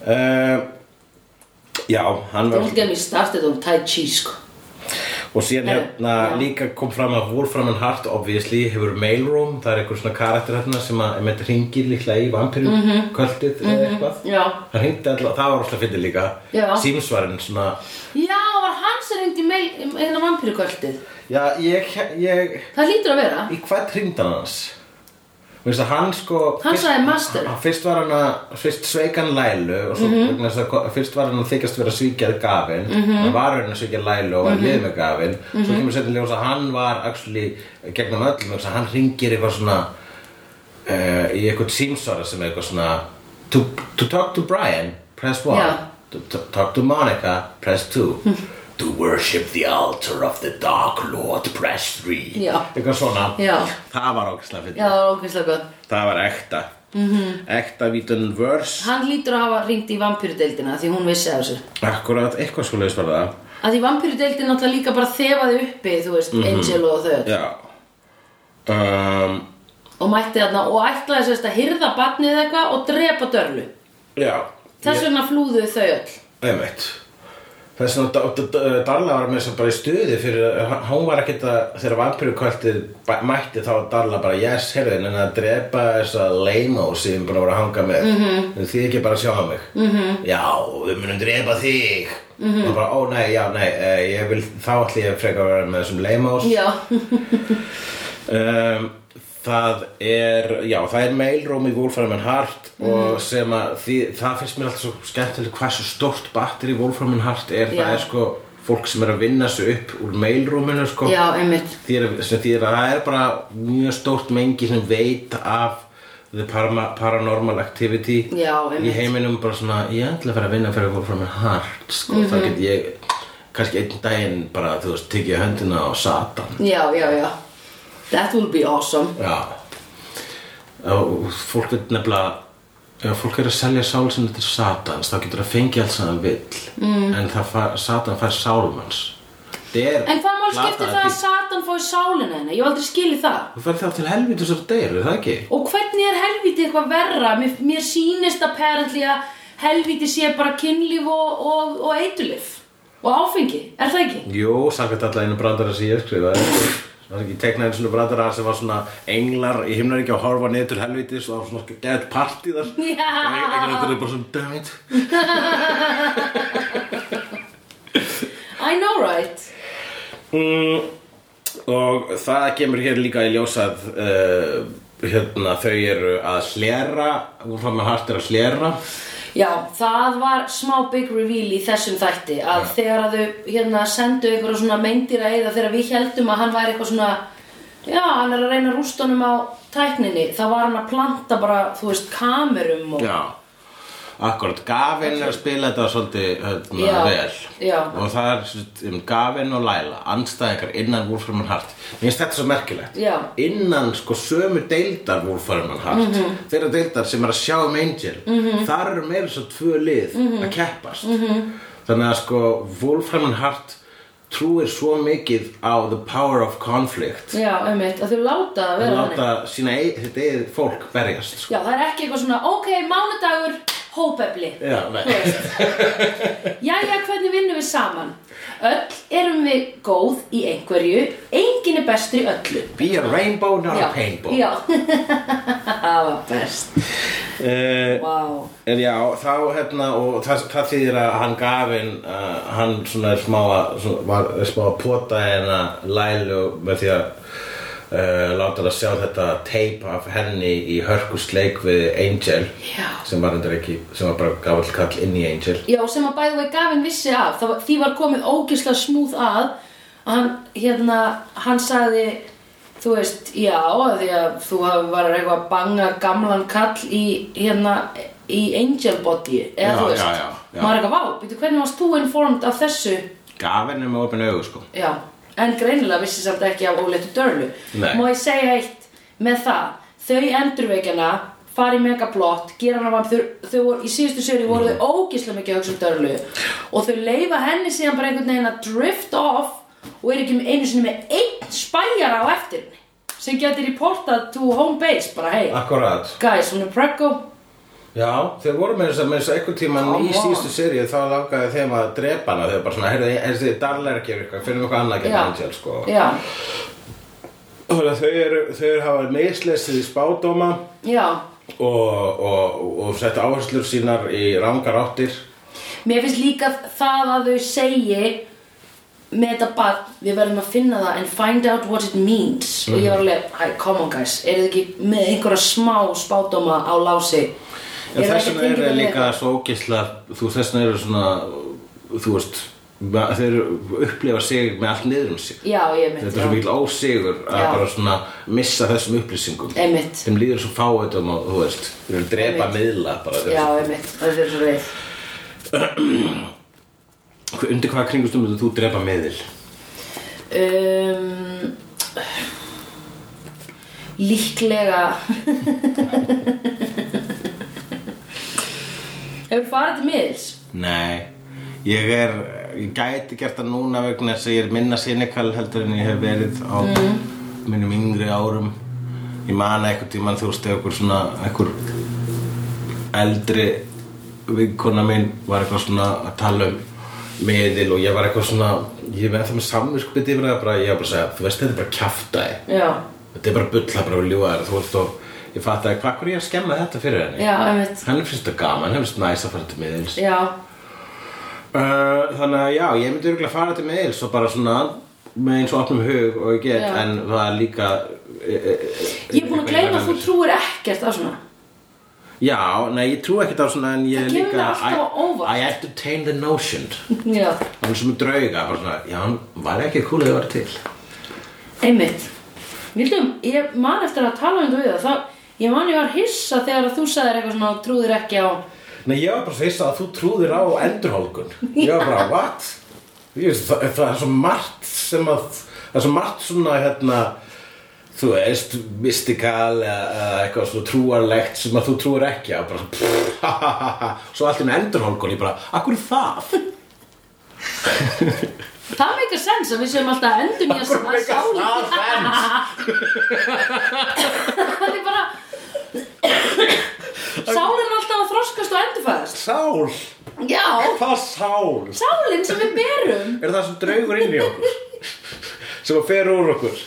Uh, já, hann
Don't
var...
get me started on Tai Chi, sko
Og síðan
Herru,
hérna
já.
líka kom fram að Wolfram and Hart obviously hefur mailroom, það er einhver svona karakter hérna sem að emitt ringir líklega í vampirjum mm
Mhm.
-hmm. eða eitthvað.
Já
Hann hringdi alltaf, það var alltaf fyndið líka.
Já.
Símsvarinn svona
Já, var hann sem reyndi meil hérna vampirukvöldið.
Já, ég, ég,
Það hlýtur að vera.
í hvað hringdan hans? Mér finnst að hann sko
Hann
fyrst-
sagði master. Mhm.
hann- Fyrst var hann að, fyrst sveik hann Lælu og svo vegna þess að fyrst var hann að þykjast vera svíkjað gafin hann var hann að svíkja Lælu og
Mhm.
hann lið með gafin svo kemur setjum ljós að hann var actually gegnum öllum, þess að hann ringir eitthvað svona uh, í eitthvað símsvara sem er eitthvað svona to, to talk to Brian, press 1
Já. Hmm.
to, to talk to Monica, press 2 to worship the altar of the dark lord, press 3
Já.
eitthvað svona
Já.
það var ógislega fyrir
Já, Mhm. það var ógeðslega gott.
það var ekta mm -hmm. ekta vítun vörs
Hann hlýtur að hafa ringt í vampirudeildina því hún vissi af þessu.
akkurat eitthvað svo leiðist var það
Að því vampirudeildin náttúrulega líka bara þefaði uppi, þú veist, Angel og þau. öll.
Mhm. já um,
Og mætti þarna og ætlaði sérst að hyrða barnið eða eitthvað og drepa dörlu.
já
Þess vegna flúðu þau öll.
einmitt Þess vegna Da- Da- Da- Darla var með sem bara í stuði fyrir, hún var ekkert að, þegar vampirukvöldið bæ- mætti þá var Darla bara, yes, heyrðu, en að drepa þessa leimo sem ég er búin að vera að hanga með, mm -hmm. þið ekki bara að sjá mig, mm -hmm. já, við munum drepa þig, mm -hmm. og bara, ó nei, já, nei, eh, ég vil, þá ætli ég frekar að vera með þessum leimós,
Já,
um, Það er, já, það er mailroom í Wolfram and Heart
Mhm.
og sem að því, það finnst mér alltaf svo skemmtileg hversu stórt batteri Wolfram and Heart er,
Já.
það er sko fólk sem er að vinna sig upp úr mailroominu sko
já, einmitt.
því er, sem því er að það er bara mjög stórt mengi sem veit af the parma, paranormal activity
Já,
í
einmitt.
heiminum bara svona ég ætla að fara að vinna fyrir Wolfram and Heart sko, mm
Mhm.
það get ég kannski einn daginn bara, þú veist, tekið höndina á Satan
Já, já, já. That will be awesome.
Já og fólk veit nefnilega ef fólk er að selja sál sinni til satans þá getur það fengið allt sem það vill mm. en það fær, satan fær sálmanns
En hvað mál skiptir það að Satan fóði sálina henni? Ég hef aldrei skilið það.
Þú færð þá til helvítið svo deyr, er það ekki?
Og hvernig er helviti eitthvað verra? Mér, mér sýnist apparently að helviti sé bara kynlíf og, og, og eitulif og áfengi, er það ekki?
Jú, samkvæmt alla einu brandara sem ég skrifaði Það var ekki teknaðin svona brandara sem var svona englar í himnaríkja og horfa niður til helvítis og það var svona gett partí þar og
Já.
einhvern veginn er bara svona dæmið
I know right.
mm, Og það kemur hér líka í ljós að uh, hérna, þau eru að hlera hún fann með hart er að hlera
Já, það var smá big reveal í þessum þætti að þegar að þau hérna sendu einhverja svona meindýra eða þegar við heldum að hann væri eitthvað svona já, hann er að reyna rústunum á tækninni þá var hann að planta bara, þú veist, kamerum og
Já, akkurat, Gavin er að spila þetta svolítið hérna,
Já,
vel
já.
og það er svolítið um Gavin og Laila, andstæðingar innan Wolfram and Hart Mér finnst þetta svo merkilegt
Já.
Innan sko sömu deildar Wolfram and Hart
Mhm.
þeirra deildar sem er að sjá um Angel -hmm. þar eru meira svo tvö lið
Mhm.
að keppast -hmm. Þannig að sko Wolfram and Hart trúir svo mikið á the power of conflict
já, einmitt, að þau láta að
að
vera þannig.
láta sína eigi- sitt eigið fólk berjast sko.
Já, það er ekki eitthvað svona, ok, mánudagur, hópefli
Já, nei
Þú veist. Jæja, hvernig vinnum við saman? Öll erum við góð í einhverju, engin er bestur í öllu
Be a rainbow, not a
Já,
painbow
Já, [laughs] það var best
Eh,
Vá
En já, þá hérna og það, það þýðir að hann gafinn uh, hann svona er smá að svona, var er smá að pota hérna lælu með því að uh, láta það sjá þetta tape af henni í hörkusleik við Angel
Já.
sem var endur ekki, sem var bara gafall kall inn í Angel
Já, sem að bæði vei Gavin vissi af það var, því var komið ógislega smúð að að hann, hérna, hann sagði þú veist, já því að þú hafi var eitthvað að banga gamlan kall í, hérna í Angel Body eða
Já,
þú veist,
já, já, já.
maður er eitthvað, vá, býttu hvernig varst þú informed af þessu
Gavinn er með opin augu sko
Já, en greinilega vissi samt ekki af óleitu dörlu.
Nei.
Má ég segja eitt með það? Þau endurveikjana fara í megablott, gera hana vamp, þau, þau voru, í síðustu séri voru
Mm.
þau ógislega mikið að hugsa um dörlu og þau leifa henni síðan bara einhvern veginn að drift off og er ekki með einu sinni með einn spæjara á eftir henni sem getur reportað to home base bara hei,
Ah. Akkurat
guys, hún er preggo
Já, þeir voru með þess að með þess að einhvern tíman
Come
í
on.
síðustu serið þá langaði þeim að drepa hana þegar bara svona, heyrðu, heyrðu, þið darlega er að gera eitthvað, finnum eitthvað annað að gera
Já.
Angel sko
Já,
Þannig að þau eru, þau eru hafa mislesið í spádóma
já
og, og, og sett áherslur sínar í rangar áttir.
Mér finnst líka það að þau segi með þetta bad, við verðum að finna það and find out what it means og ég var alveg, hæ, come on guys, eru þið ekki með einhverja smá spádóma á lási
En
Eru
þess
ekki að
vegna eru
tengja
þeir
við
líka
þetta?
svo ógisla, þú þess vegna eru svona, þú veist, ma- þeir upplifa sig með allt niður um sig.
Já, ég
Þetta
mynd,
er svo
já,
mikil ósigur að
Já.
bara svona missa þessum upplýsingum.
einmitt
Þeim líður svo fáutum og þú veist, þeir eru að drepa miðla bara. þeir-
Já, einmitt, það er svo reið
Undir hvaða kringustum myndir þú drepa miðil?
um, Líklega [laughs] Hefur farið til miðils?
Nei, ég er, ég gæti gert það núna vegna þess að ég er minna sinikal heldur en ég hef verið á
Mm.
mínum yngri árum. Ég man eitthvað tímann þú veist eða einhver svona, einhver eldri vinkona mín var eitthvað svona að tala um miðil og ég var eitthvað svona, ég var ennþá með samvinskbytt yfir það bara, ég var bara að segja, þú veist þetta er bara kjaftaði.
Já,
Þetta er bara bull, það er bara að ljúa þér, þú veist og ég fattaði hvað hverju ég að skemma þetta fyrir henni.
já, einmitt
Henni finnst þetta gaman, henni finnst næs að fara til miðils.
Já,
Uh, þannig að já, ég myndi örgulega fara til meils og bara svona með eins og opnum hug og ég get
Já.
en það er líka e, e, e,
Ég er búin að gleyma að þú trúir ekkert á svona
Já, nei, ég trú ekkert á svona en ég
Það
er
kemur
líka
mér alltaf á óvart.
I, I entertain the notion
Já,
Hann sem er drauga, bara svona, já, hann var ekki cool að það var til
einmitt Mér hlum, ég man eftir að tala um þetta við það þá, Ég man ég var hissa þegar að þú sagðir eitthvað svona og trúðir ekki á
Nei, ég var bara að fyrsta að þú trúðir á endurhólkun Ég var bara, what? Ég veist, það, það er svo margt sem að Það er svo margt svona, hérna þú veist, mystical eða eða eitthvað svona trúarlegt sem að þú trúir ekki á, bara svona [laughs] svo allt í enn endurhólkun, ég bara, akkur það?
Það meikar sens að við séum alltaf að endur nýja sem [laughs] að sála
það fenns?
Það er bara Sálinn er alltaf að þroskast og endurfæðast
Sál,
Já,
hvað sál?
sálinn sem við berum
Er það sem draugur inn í okkur? [laughs] sem að fer úr okkur?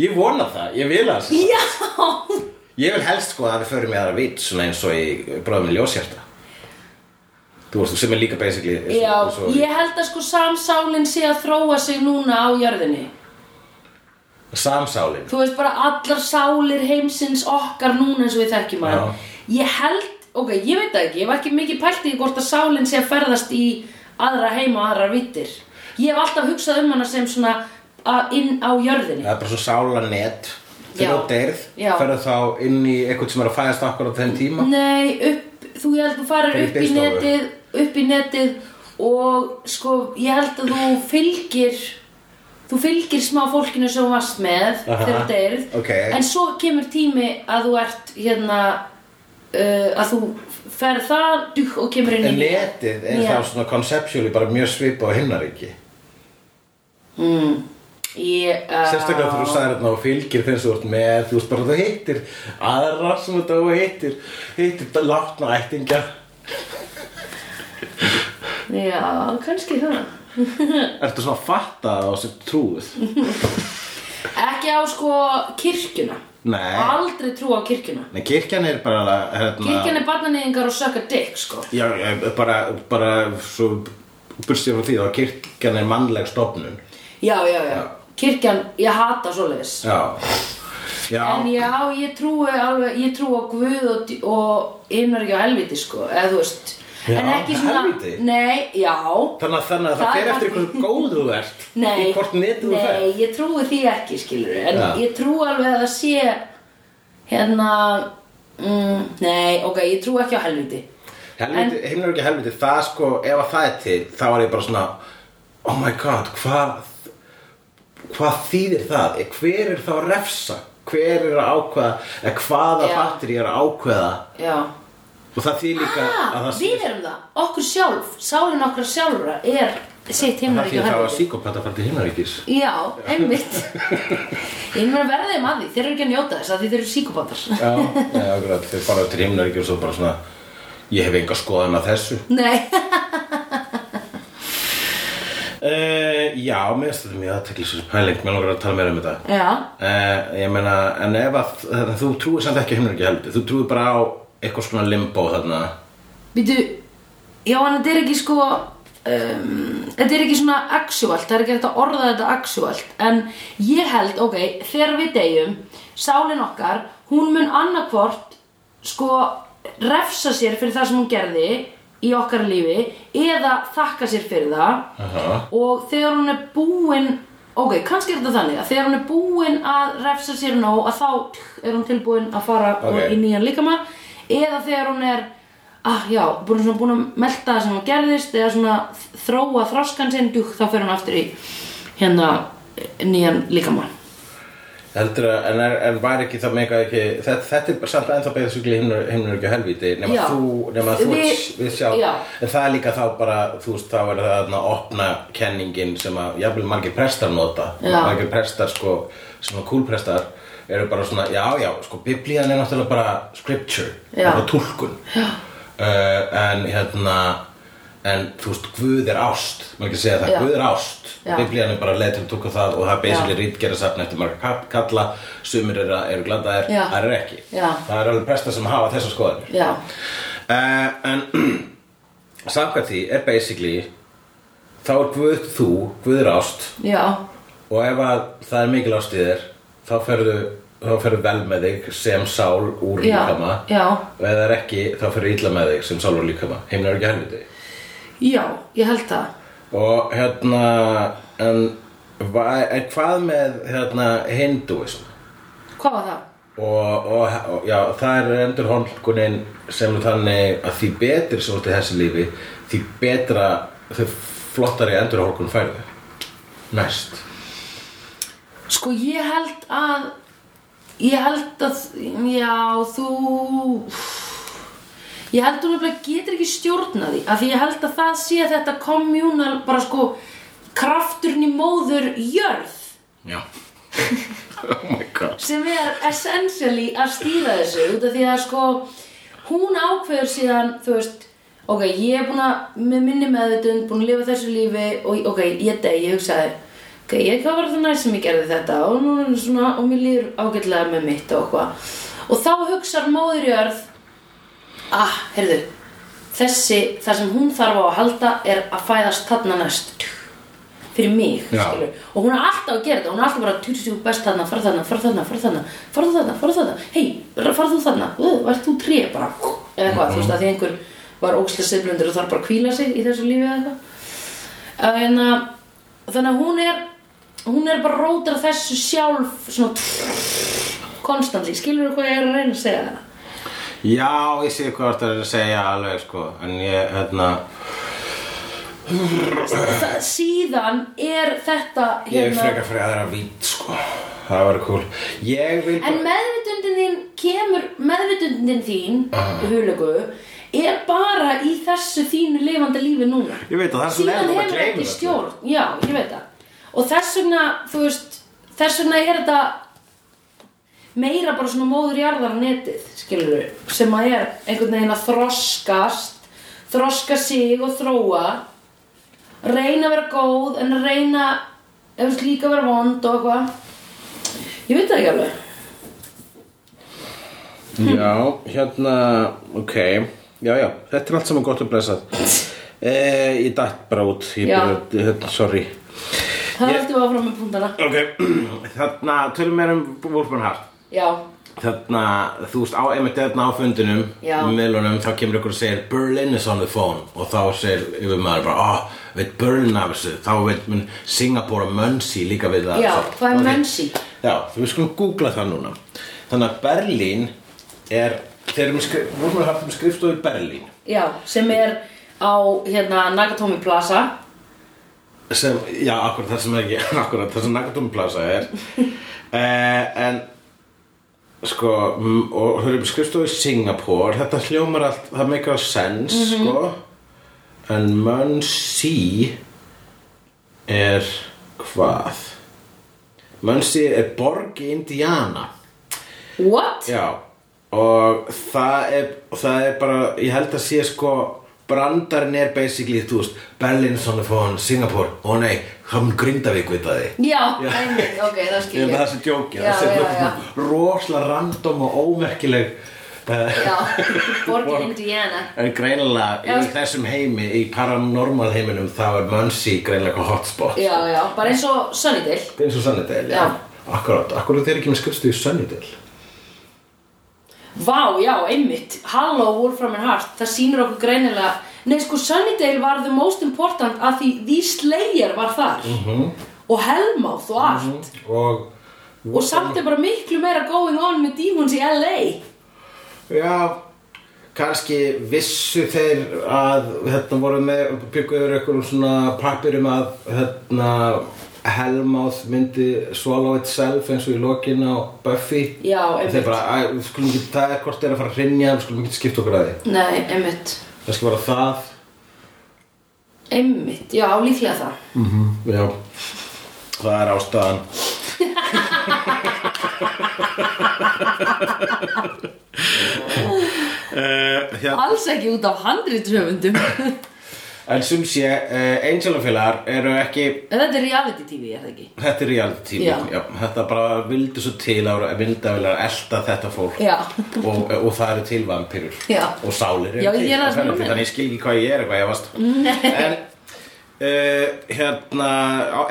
Ég vona það, ég vil að það
Já,
Ég vil helst sko að við förum í aðra vitt svona eins og í bráðum ljósjarta Þú veist, sem er líka basically eins
já
og- eins og-
Ég held að sko samsálinn sé að þróa sig núna á jörðinni
Samsálin
Þú veist bara allar sálir heimsins okkar núna eins og við þekkjum að Ég held, ok, ég veit það ekki Ég var ekki mikið pælt í hvort að sálinn sé að ferðast í aðra heima og aðrar vittir Ég hef alltaf hugsað um hana sem svona að- inn á jörðinni
Það er bara svo sálanett
Já.
Þegar þú deyrð,
Já.
ferðu þá inn í eitthvað sem er að fæðast akkur á þeim tíma
Nei, upp, þú ég held að þú farir
Fyrir
upp í
biðstofu.
netið upp í netið og sko, ég held að þú fylgir þú fylgir smá fólkinu sem þú varst með
Aha,
þegar þú deyrð
ok.
en svo kemur tími að þú ert hérna uh, að þú ferð það duk, og kemur inn í
En netið er
Já.
þá svona conceptually bara mjög svipa á hinnaríki
Ég, uh,
Sérstaklega þegar þú sagðir þarna og fylgir þeim sem þú ert með Þú veist bara þú hittir aðra sem þú dó hittir Hittir látna ættingja
Já, kannski það
Ertu svona að fatta það á sér trúið?
[laughs] Ekki á sko kirkjuna
Nei.
Aldrei trú á kirkjuna
Nei, kirkjan er bara hérna,
Kirkjan er barnaneyðingar og sökka dick sko
Já, eh, bara, bara svo burstið frá því þá kirkjan er mannleg stofnun
Já, já,
Já.
já. Kirkjan, ég hata svoleiðis.
Já Já,
En já, ég trúi alveg, ég trúi á Guð og, dj- og innverki á helviti, sko, eða þú veist.
Já,
en ekki svona...
helvíti?
Nei, já.
þannig að, þannig að
Það
það
er
fer eftir
bara-
hversu góð þú
[laughs]
ert
Nei,
Í hvort netið þú fer
nei, ég trúi því ekki, skilur En
Já.
ég trúi alveg að það sé, hérna, mm, nei, ok, ég trúi ekki á helviti.
Helviti, himnar ekki helviti, það sko, ef að það er til, þá er ég bara svona, oh my god, hvað, hvað þýðir það? Eh, Hver er þá að refsa? Hver er að ákveða, eða hvaða
Já.
fattir ég er að ákveða?
Já.
Og það þýðir líka að
Ah,
það
við erum það, okkur sjálf, sálinn okkar sjálfra er sitt
það
himnaríki
þýðir
og
þá að
helviti.
síkopata fætti himnaríkis.
Já, einmitt [laughs] Ég meina verðið um að því, þeir eru ekki að njóta þess að því þeir eru síkubátar
Já, já, akkurat, þeir fara til himnaríki og svo bara svona, ég hef enga skoðan að þessu.
[laughs] Nei,
Uh, já, mér finnst þetta mjög aðteklisins pæling, mér langar að tala meira um þetta.
já,
Uh, ég meina, en ef að þetta, þú trúir samt ekki himnaríki heldur, þú trúir bara á eitthvað svona limbo þarna.
býtu Já, en þetta er ekki sko um, Þetta er ekki svona actual Það er ekki hægt að orða þetta actual En ég held, ok, þegar við deyjum Sálin okkar Hún mun annarkvort Sko, refsa sér fyrir það sem hún gerði Í okkar lífi Eða þakka sér fyrir það
Aha.
og þegar hún er búin ok, kannski er þetta þannig að þegar hún er búin að refsa sér nóg að þá tch, er hún tilbúin að fara
Ok.
okay. í nýjan líkama eða þegar hún er ah já, búin, svona, búin að melta það sem hún gerðist eða svona þróa þroskan sinn djúk, þá fer hún aftur í hérna nýjan líkama
Heldur að, en, er, en væri ekki það mega ekki, þetta, þetta er bara samt ennþá beðið svolítið himnur, himnur ekki helvíti, nema
Já.
þú, nema þú,
Við-
við, við sjá,
já.
en það er líka þá bara, þú veist, þá er það þarna opna kenningin sem að, jafnvel margir prestar nota,
Já.
margir prestar sko, svona kúlprestar, eru bara svona, já, já, sko, biblían er náttúrulega bara scripture,
Já.
bara túlkun, já. en hérna, en þú veist, Guð er ást, maður ekki segja það,
Já.
Guð er ást,
Já.
biblían Biblían er bara leið til að tóka það og það er basically
Já.
rítgerðasafn eftir marga kap- kalla sumir eru, eru gladaðir,
Já.
það eru ekki
Já.
það eru alveg prestar sem hafa þessar skoðanir
já,
uh, en [clears throat] samkvæmt því er basically þá er Guð þú, Guð er ást
já,
og ef að það er mikil ást í þér þá ferðu, þá ferðu vel með þig sem sál úr
Já.
líkama
Já.
og ef það er ekki þá ferðu illa með þig sem sál úr líkama heimna er ekki helviti
já ég held það
Og hérna, en, va- en hvað með hérna, hinduism?
hvað var það?
Og, og, og já, það er endur hólkunin sem er þannig að því betri sem þú ert í þessu lífi, því betra, þau flottari endur hólkun færðu. Næst.
Sko ég held að Ég held að, já, þú... Ég held hún nefnilega getur ekki stjórna því, af því ég held að það sé þetta kommunal, bara sko, krafturinn í móður jörð,
Já [laughs] Oh my god
sem er essentially að stýra þessu, út af því að sko, hún ákveður síðan, þú veist, ok, ég er búin að, með minni meðvitund, búin að lifa þessu lífi og, ok, ég deg, ég hugsaði, ok, ég hvað var það næst sem ég gerði þetta og nú er svona, og mér líður ágætlega með mitt og hvað. Og þá hugsar móður jörð, ah, heyrðu, þessi, það sem hún þarf á að halda er að fæðast þarna næst fyrir mig,
Já.
skilur og hún er alltaf að gera þetta, hún er alltaf bara týrstu best þarna, fara þarna, fara þarna, fara þarna fara þarna, fara þarna, hei, fara þú þarna uh, varst þú tré bara eða eitthvað, þú veist að því einhver var ókslega siðblundur og þarf bara að hvíla sig í þessu lífi eða eitthvað Að hérna, þannig að hún er hún er bara rótar þessu sjálf svona konstanti, skilur hvað ég er að reyna að segja það
Já, ég sé hvað það er að segja alveg sko En ég, hérna
það, síðan er þetta hérna
Ég er frekar fyrir aðra vít sko Það var cool Ég vil
en meðvitundin þín kemur meðvitundin þín uh. hulegu er bara í þessu þínu lifandi lífi núna
Ég veit að það er svo
síðan
leiðilegt að
hefur
gleyma
ekki
þessu.
stjórn já, ég veit það og þess vegna, þú veist þess vegna er þetta meira bara svona móður jarðar netið, skilur við sem að er einhvern veginn að þroskast þroska sig og þróa reyna að vera góð en að reyna ef þú veist, líka að vera vond og eitthvað ég veit það ekki alveg
Já, hérna, ok Já, já, þetta er allt saman gott að
[laughs]
blessað eh, Ég datt bara út Ég
Já.
byrja, hérna, sorry
Það heldur við áfram með púntana
Ok, [clears throat] þarna, tölum mér um Wolfman Hart
Já,
Þarna, þú veist, á einmitt þarna á fundinum
Já.
Meðlunum, þá kemur ykkur og segir Berlin is on the phone Og þá segir yfir maður bara, ah, veit Berlin af þessu Þá veit mun Singapore og Munsi líka við það
já, hvað er
Ok.
mönsi?
Já, við skulum googla það núna Þannig að Berlín er Þeir eru með skri- Wolfman Hart er með skrifstofu í Berlín
Já, sem er á hérna Nakatomi Plaza
sem, já, akkurat það sem er ekki [laughs] akkurat það sem Nakatomi Plaza er eh, en sko, m- og höfum skrifstofu í Singapore, þetta hljómar allt það meikar sens, sko en Munsi er hvað Munsi er borg í Indiana
What?
Já, og það er, það er bara, ég held að sé sko brandarinn er basically, þú veist, Berlin, Sonnefón, Singapore, ó nei, hann Grindavík við það þið.
Já, einmitt, ok, það
Ég
skil
held
ég
að það sem djókið,
Já,
það sem
já,
bara
já.
svona rosalega random og ómerkileg eh,
Já, borgin
Borg.
Indiana
[laughs] En greinilega í
Já. sko.
þessum heimi, í paranormal heiminum, þá er Munsi greinilega eitthvað hotspot.
Já, já, bara eins og Sunnydale
Það er eins og Sunnydale,
Já.
Akkurát, akkurát þeir ekki með skrifstu í Sunnydale.
Vá, já, einmitt Halló, Wolfram and Heart, það sýnir okkur greinilega Nei, sko, Sunnydale var the most important að því því Slayer var þar
Mhm.
-hmm. og Hellmouth og allt
Og... Mhm.
og samt er bara miklu meira going on með Demons í LA
Já, kannski vissu þeir að hérna voru með, bygguður einhverjum svona pappirum að hérna Helmáð myndi swallow itself eins og í lokin á Buffy
Já,
Og
einmitt.
þeir bara, "Æ, við skulum ekki, það er hvort þeir eru að fara að hrynja, við skulum ekki skipta okkur að því
Nei, einmitt
Það skal bara það,
Einmitt, já, líklega það
já, Mhm. það er ástæðan Uh, hérna.
Alls ekki út af [laughs] handritöfundum
En sem sé, uh, Angelafélagar eru ekki,
Þetta er reality tv, er það ekki?
þetta er reality TV,
Já.
já, þetta bara vildi svo til að myndavélagar elta þetta fólk
Já.
og, eh, og það eru til vampirur
Já.
og sálir eru
Já,
til
ég er að
og þannig
meina.
þannig ég skil ekki hvað ég er eitthvað, ég varst. En uh, hérna,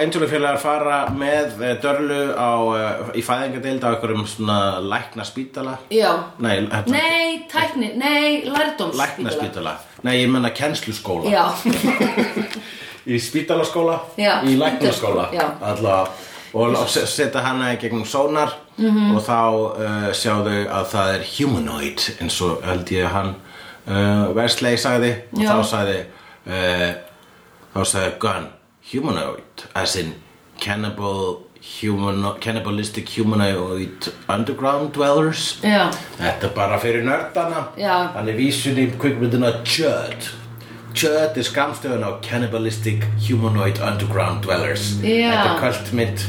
Angelafélagar fara með uh, Dörlu á, uh, í fæðingadeild á einhverjum svona lækna spítala.
Já
Nei, hérna,
Nei, tækni, nei, lærdómsspítala
lækna spítala. Nei, ég menna kennsluskóla.
Já,
í spítalaskóla
Já.
í læknaskóla
Já.
allavega og lá- se- setja hana í gegnum sónar
Mhm.
-hmm. og þá uh, sjáðu að það er humanoid eins og held ég að hann uh, Versley sagði og
Já.
þá sagði eh, uh, þá sagði Gunn humanoid as in cannibal human, Cannibalistic Humanoid Underground Dwellers
Já,
Þetta er bara fyrir nördana
Já.
Hann er vísun í kvikmyndina Chud Chud er skamstöðun á Cannibalistic Humanoid Underground Dwellers
Já.
Þetta er kvöldmynd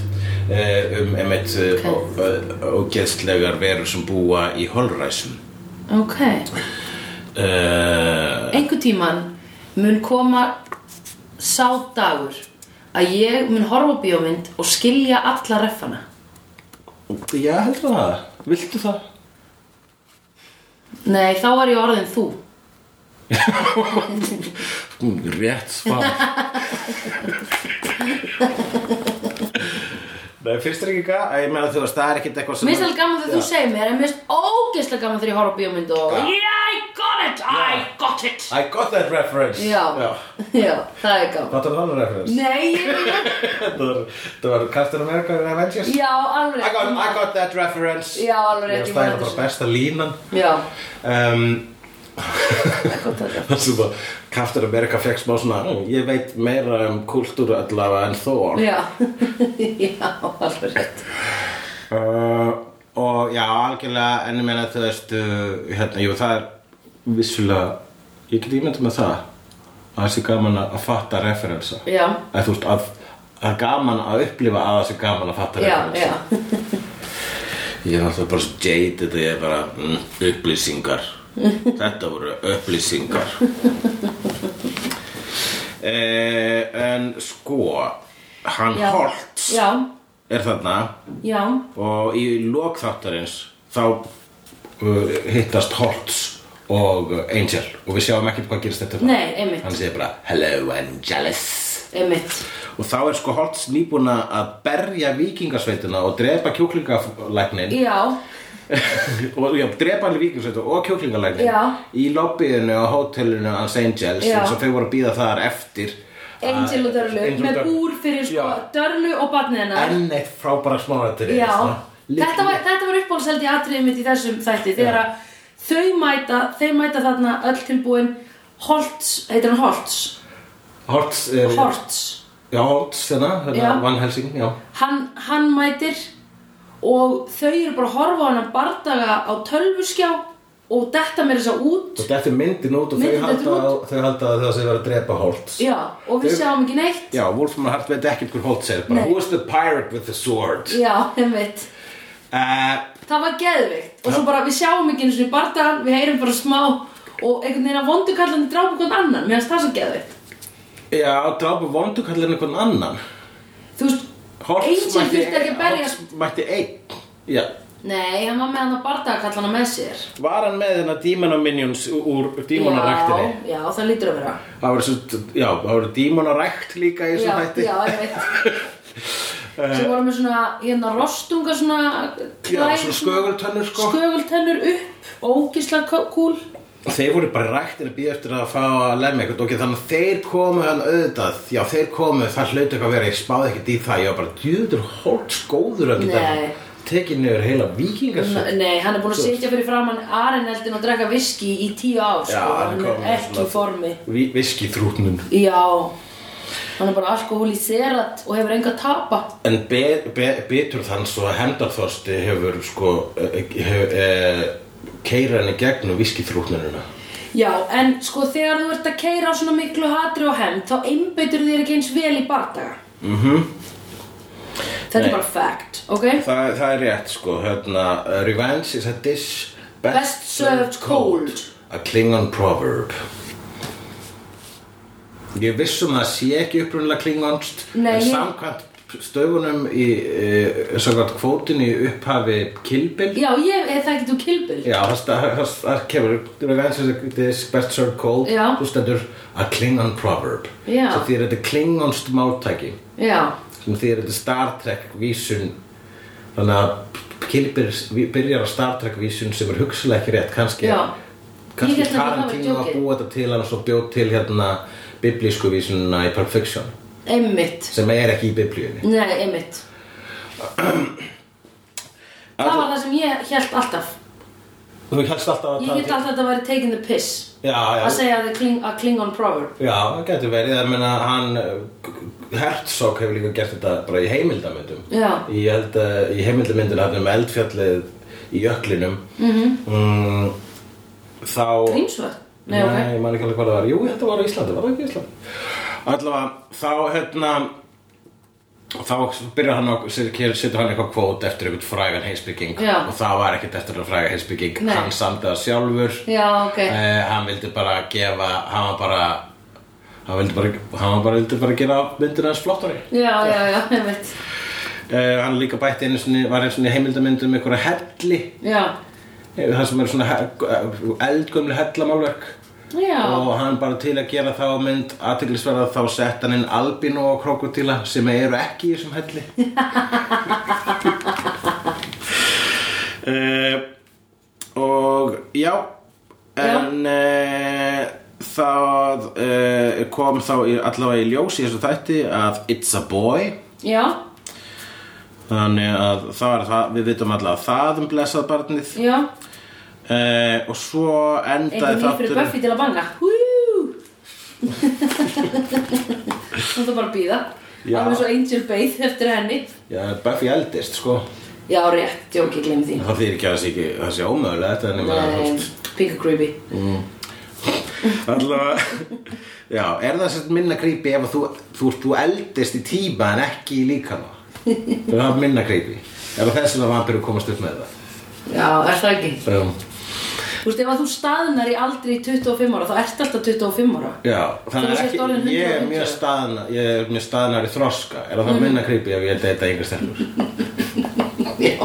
uh, um einmitt uh, okay. ógeðslegar verur sem búa í holræsum
ok
uh,
Einhvern tíman mun koma sá dagur að ég mun horfa á bíómynd og skilja alla reffana
Já, heldur það Viltu það? [laughs]
Nei, þá var ég orðin þú
Mm, Rétt svar Nei, fyrst er ekki gaf Ég meina þú veist, það er ekkert eitthvað sem
Mér finnst alveg gaman þegar
Já.
þú segir mér en mér finnst ógeðslega gaman þegar ég horfa á bíómynd og
Já.
Yeah, I got it, I got it
I got that reference
Já, já, það er gaman
Hvað er það alveg reference? [laughs]
Nei, ég-
það var, það var Captain America and Avengers
já, alveg
I got, I got that reference
Já, alveg
Ég
rétt, ég
veist
man
það er
eftir
bara
þessu.
besta línan
Já,
um, [laughs]
I got that
Það sem að Captain America fekk smá svona "Nú, Ég veit meira um kultúru allavega en Thor
Já, [laughs] já, alveg rétt
uh, Og já, algjörlega ennum meina þú veist uh, hérna, Jú, það er vissulega Ég get ímyndum með það að það sé gaman að að fatta referensa
Já.
að þú veist að það er gaman að upplifa að það sé gaman að fatta
Já,
referensa
já,
Ég er alltaf bara svo jaded að ég er bara mm,
[laughs]
upplýsingar. Þetta voru upplýsingar. eh, en sko, hann
Já.
Holtz
já,
er þarna
já
og í lokþáttarins þá uh, hittast Holtz og Angel og við sjáum ekkert hvað gerist þetta
Nei, einmitt.
Hann segir bara, hello Angelus.
Einmitt
Og þá er sko Holtz nýbúna að berja vikingasveitina og drepa kjúklingalæknin
Já,
og já, drepa hann í vikingsveitu og kjóklingalægni
Já.
í lobbyinu á hótelinu hans Angels
Já.
eins og þau voru að býða þar eftir
Angel og Dörlu
Angel og
með
Dörlu.
búr fyrir sko
Já.
Dörlu og barnið hennar
enn eitt frábæra smáratri
Já, þetta var, þetta var uppbólseldi atriðið mitt í þessum þætti þegar
Já.
að þau mæta, þeir mæta þarna öll tilbúin Holtz, heitir hann Holtz
Hortz er,
Holtz,
eh, já, Hortz þarna, þarna
Já.
Van Helsing, já
hann, hann mætir og þau eru bara að horfa á hana bardaga á tölvuskjá og detta mér þess að út
og þetta er myndin út og
Myndin
þau halda,
dettur
þau halda að það sem var að drepa Hortz
Já, og við
Þau-
sjáum ekki neitt
Já, Wolfram Hart veit ekkert hver Holtz er bara,
Nei.
who is the pirate with the sword
Já, einmitt
uh,
Það var geðveikt og svo bara við sjáum ekki eins og bardagan, við heyrum bara smá og einhvern veginn að vondu kallandi drápa hvern annan, mér finnst það svo geðveikt
Já, drápa vondukallin einhvern annan
Þú veist,
Hortz
Angel þurfti ekki að berja
Hortz mætti einn Já,
Nei, hann var með hann að bardagakallana með sér
Var hann með þennan Demon of Minions úr dímonaræktinni?
Já, já, það lítur að vera
Það voru, svo, já, það voru dímonarækt líka í
Já,
þessum þætti.
já, ég veit Svo vorum við svona, hérna, rostunga svona
Já,
klær-
svona skögultönnur, sko.
Skögultennur upp, ógisla kúl
Og þeir voru bara ræktir að býja eftir að fá að lemja eitthvað. Ok, þannig að þeir komu hann auðvitað. Já, þeir komu, það hlaut eitthvað að vera. Ég spáði ekkert í það. Ég var bara, djúður hólt skóður að geta
Nei.
tekið niður heila vikingarsöld.
Nei, hann er búinn að sitja fyrir framann Areneldin og drekka viski í tíu ár
Já,
sko.
hann er
hann
kominn
er ekki
svona-
í formi
Viski þrútnun.
Já, hann er bara alkoholiserat og hefur enga að tapa
En be, be, betur þann svo að hendarþorsti hefur sko, hefur, e, keira henni gegnum viski þrútnununa.
Já, en sko þegar þú ert að keira á svona miklu hatri og hemmt þá einbeitur þér ekki eins vel í bardaga Mhm Þetta
Nei.
er bara fact, ok?
Þa, það er rétt sko, hérna, uh, revenge is a dish best,
Best served cold.
A Klingon proverb. Ég vissum að það sé ekki upprunnilega klingonst,
Nei,
en
ég-
samkvæmt stöfunum í, e, samkvæmt kvótinu í upphafi kilbil.
Já, ég er það ekki þú kilbil
Já, það, sta- það, það kemur, revenge is a dish best served cold,
Já.
þú stendur a Klingon proverb.
Já.
Svo því er þetta klingonst máltæki
Já,
sem því er þetta Star Trek vísun þannig að Kilbyr byrjar á Star Trek vísun sem er hugsalega ekki rétt kannski,
Já. Ég
kannski
hélt að það
Karen
var
King að
jokeið.
búa þetta til hann svo bjóð til hérna biblísku vísununa í Pulp Fiction
einmitt
sem er ekki í biblíunni
Nei, einmitt Það var það sem ég held alltaf
Þú helst alltaf að
Ég held alltaf að þetta væri taking the piss
Já, já,
að segja að the Kling- a Klingon proverb
já, það getur verið, það meina hann eh, Herzog hefur líka gert þetta bara í heimildamöndum
Já.
Ég held að í heimildamöndinu hann um eldfjallið í jöklinum mm -hmm. Þá
Grímsvöld? Nei,
Nei,
ok.
ég man ekki alveg hvað það var. Jú, þetta var á Íslandi, var það ekki í Íslandi? Allavega, þá hérna þá byrjar hann að sér- setur hann eitthvað kvót eftir einhvern frægan heimsbygging
Já.
og það var ekkert eftir einhvern frægan heimsbygging
Nei.
hann samdi það sjálfur
Já, ok.
eh, hann vildi bara gefa hann var bara hann vildi bara, hann var bara, vildi bara gera myndina hans flottari
Já, já, já, ég veit.
eh, hann líka bætti einu sinni, var einu sinni heimildamyndum með einhverja helli
Já.
eh, það sem er svona he- eldgömlu hellamálverk
Já.
og hann bara til að gera þá mynd aðtiklisverða þá sett hann inn albino og krokodila sem eru ekki í þessum
[laughs]
helli uh, og já en uh, það uh, kom þá í, allavega í ljós í þessu þætti að It's a Boy
Já.
þannig að það er það við vitum allavega það um blessað barnið
Já.
uh, og svo endaði
Eitthvað nýtt fyrir
þátturinn-
Buffy til að banga. Hú! Nú það bara að býða.
Já.
Það var svo Angel Baith eftir henni.
Já, Buffy eldist, sko
Já, rétt. Jók, ég glemði því.
Það þýr ekki að það sé ekki, það sé ómögulega þetta en ég meina, þú
Nei,
veist,
Pink and Creepy.
allavega, [laughs] já, er það sett minna creepy ef að þú, þú, þú eldist í tíma en ekki í líkama? Er það minna creepy? Er það þess að vampirur komast upp með það?
Já, er það ekki?
Um,
Þú veist, ef að þú staðnar í aldri í 25 ára, þá ert alltaf 25 ára.
já,
Þú
þannig er
sért orðin
ekki, ég er
100.
mjög staðna, ég er mjög staðnar í þroska, er það minna creepy ef ég deyta yngur stelpur?
Já. [laughs]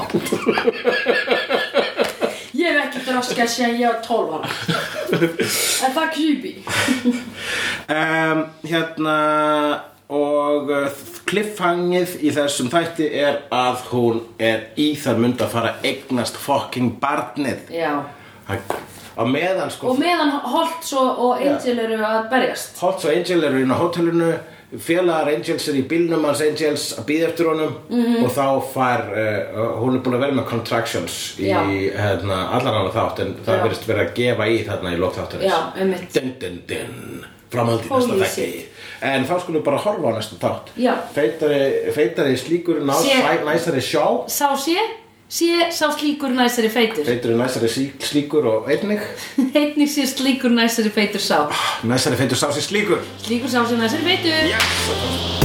Ég hef ekki draskað síðan ég var 12 ára. Er það creepy?
um, hérna og uh, kliffhangið í þessum þætti er að hún er í þar mynd að fara að eignast fucking barnið
Já.
Það- á meðan sko
Og meðan Holt svo og Angel eru að berjast.
Hots og Angel eru inn á hótelinu félagar Angels er í bílnum hans Angels að býða eftir honum
Mhm.
og þá fær, uh, hún er búin að vera með contractions í
Já.
hérna, allan annað þátt en
Já.
það verðist verið að gefa í þarna í lókþáttunins
Já, einmitt.
Dun dun dun framhaldi
Holy
næsta þætti
shit.
en þá skulum við bara horfa á næsta þátt
Já.
feitari, feitari slíkur ná,
Sé-
sæ, næsari sjá
Sá sé, sé sá slíkur næsari feitur.
feitari næsari sí- slíkur og einnig
[laughs] Einnig sé slíkur næsari feitur sá.
næsari feitur sá sér slíkur
Slíkur sá sé næsari feitur.
yes!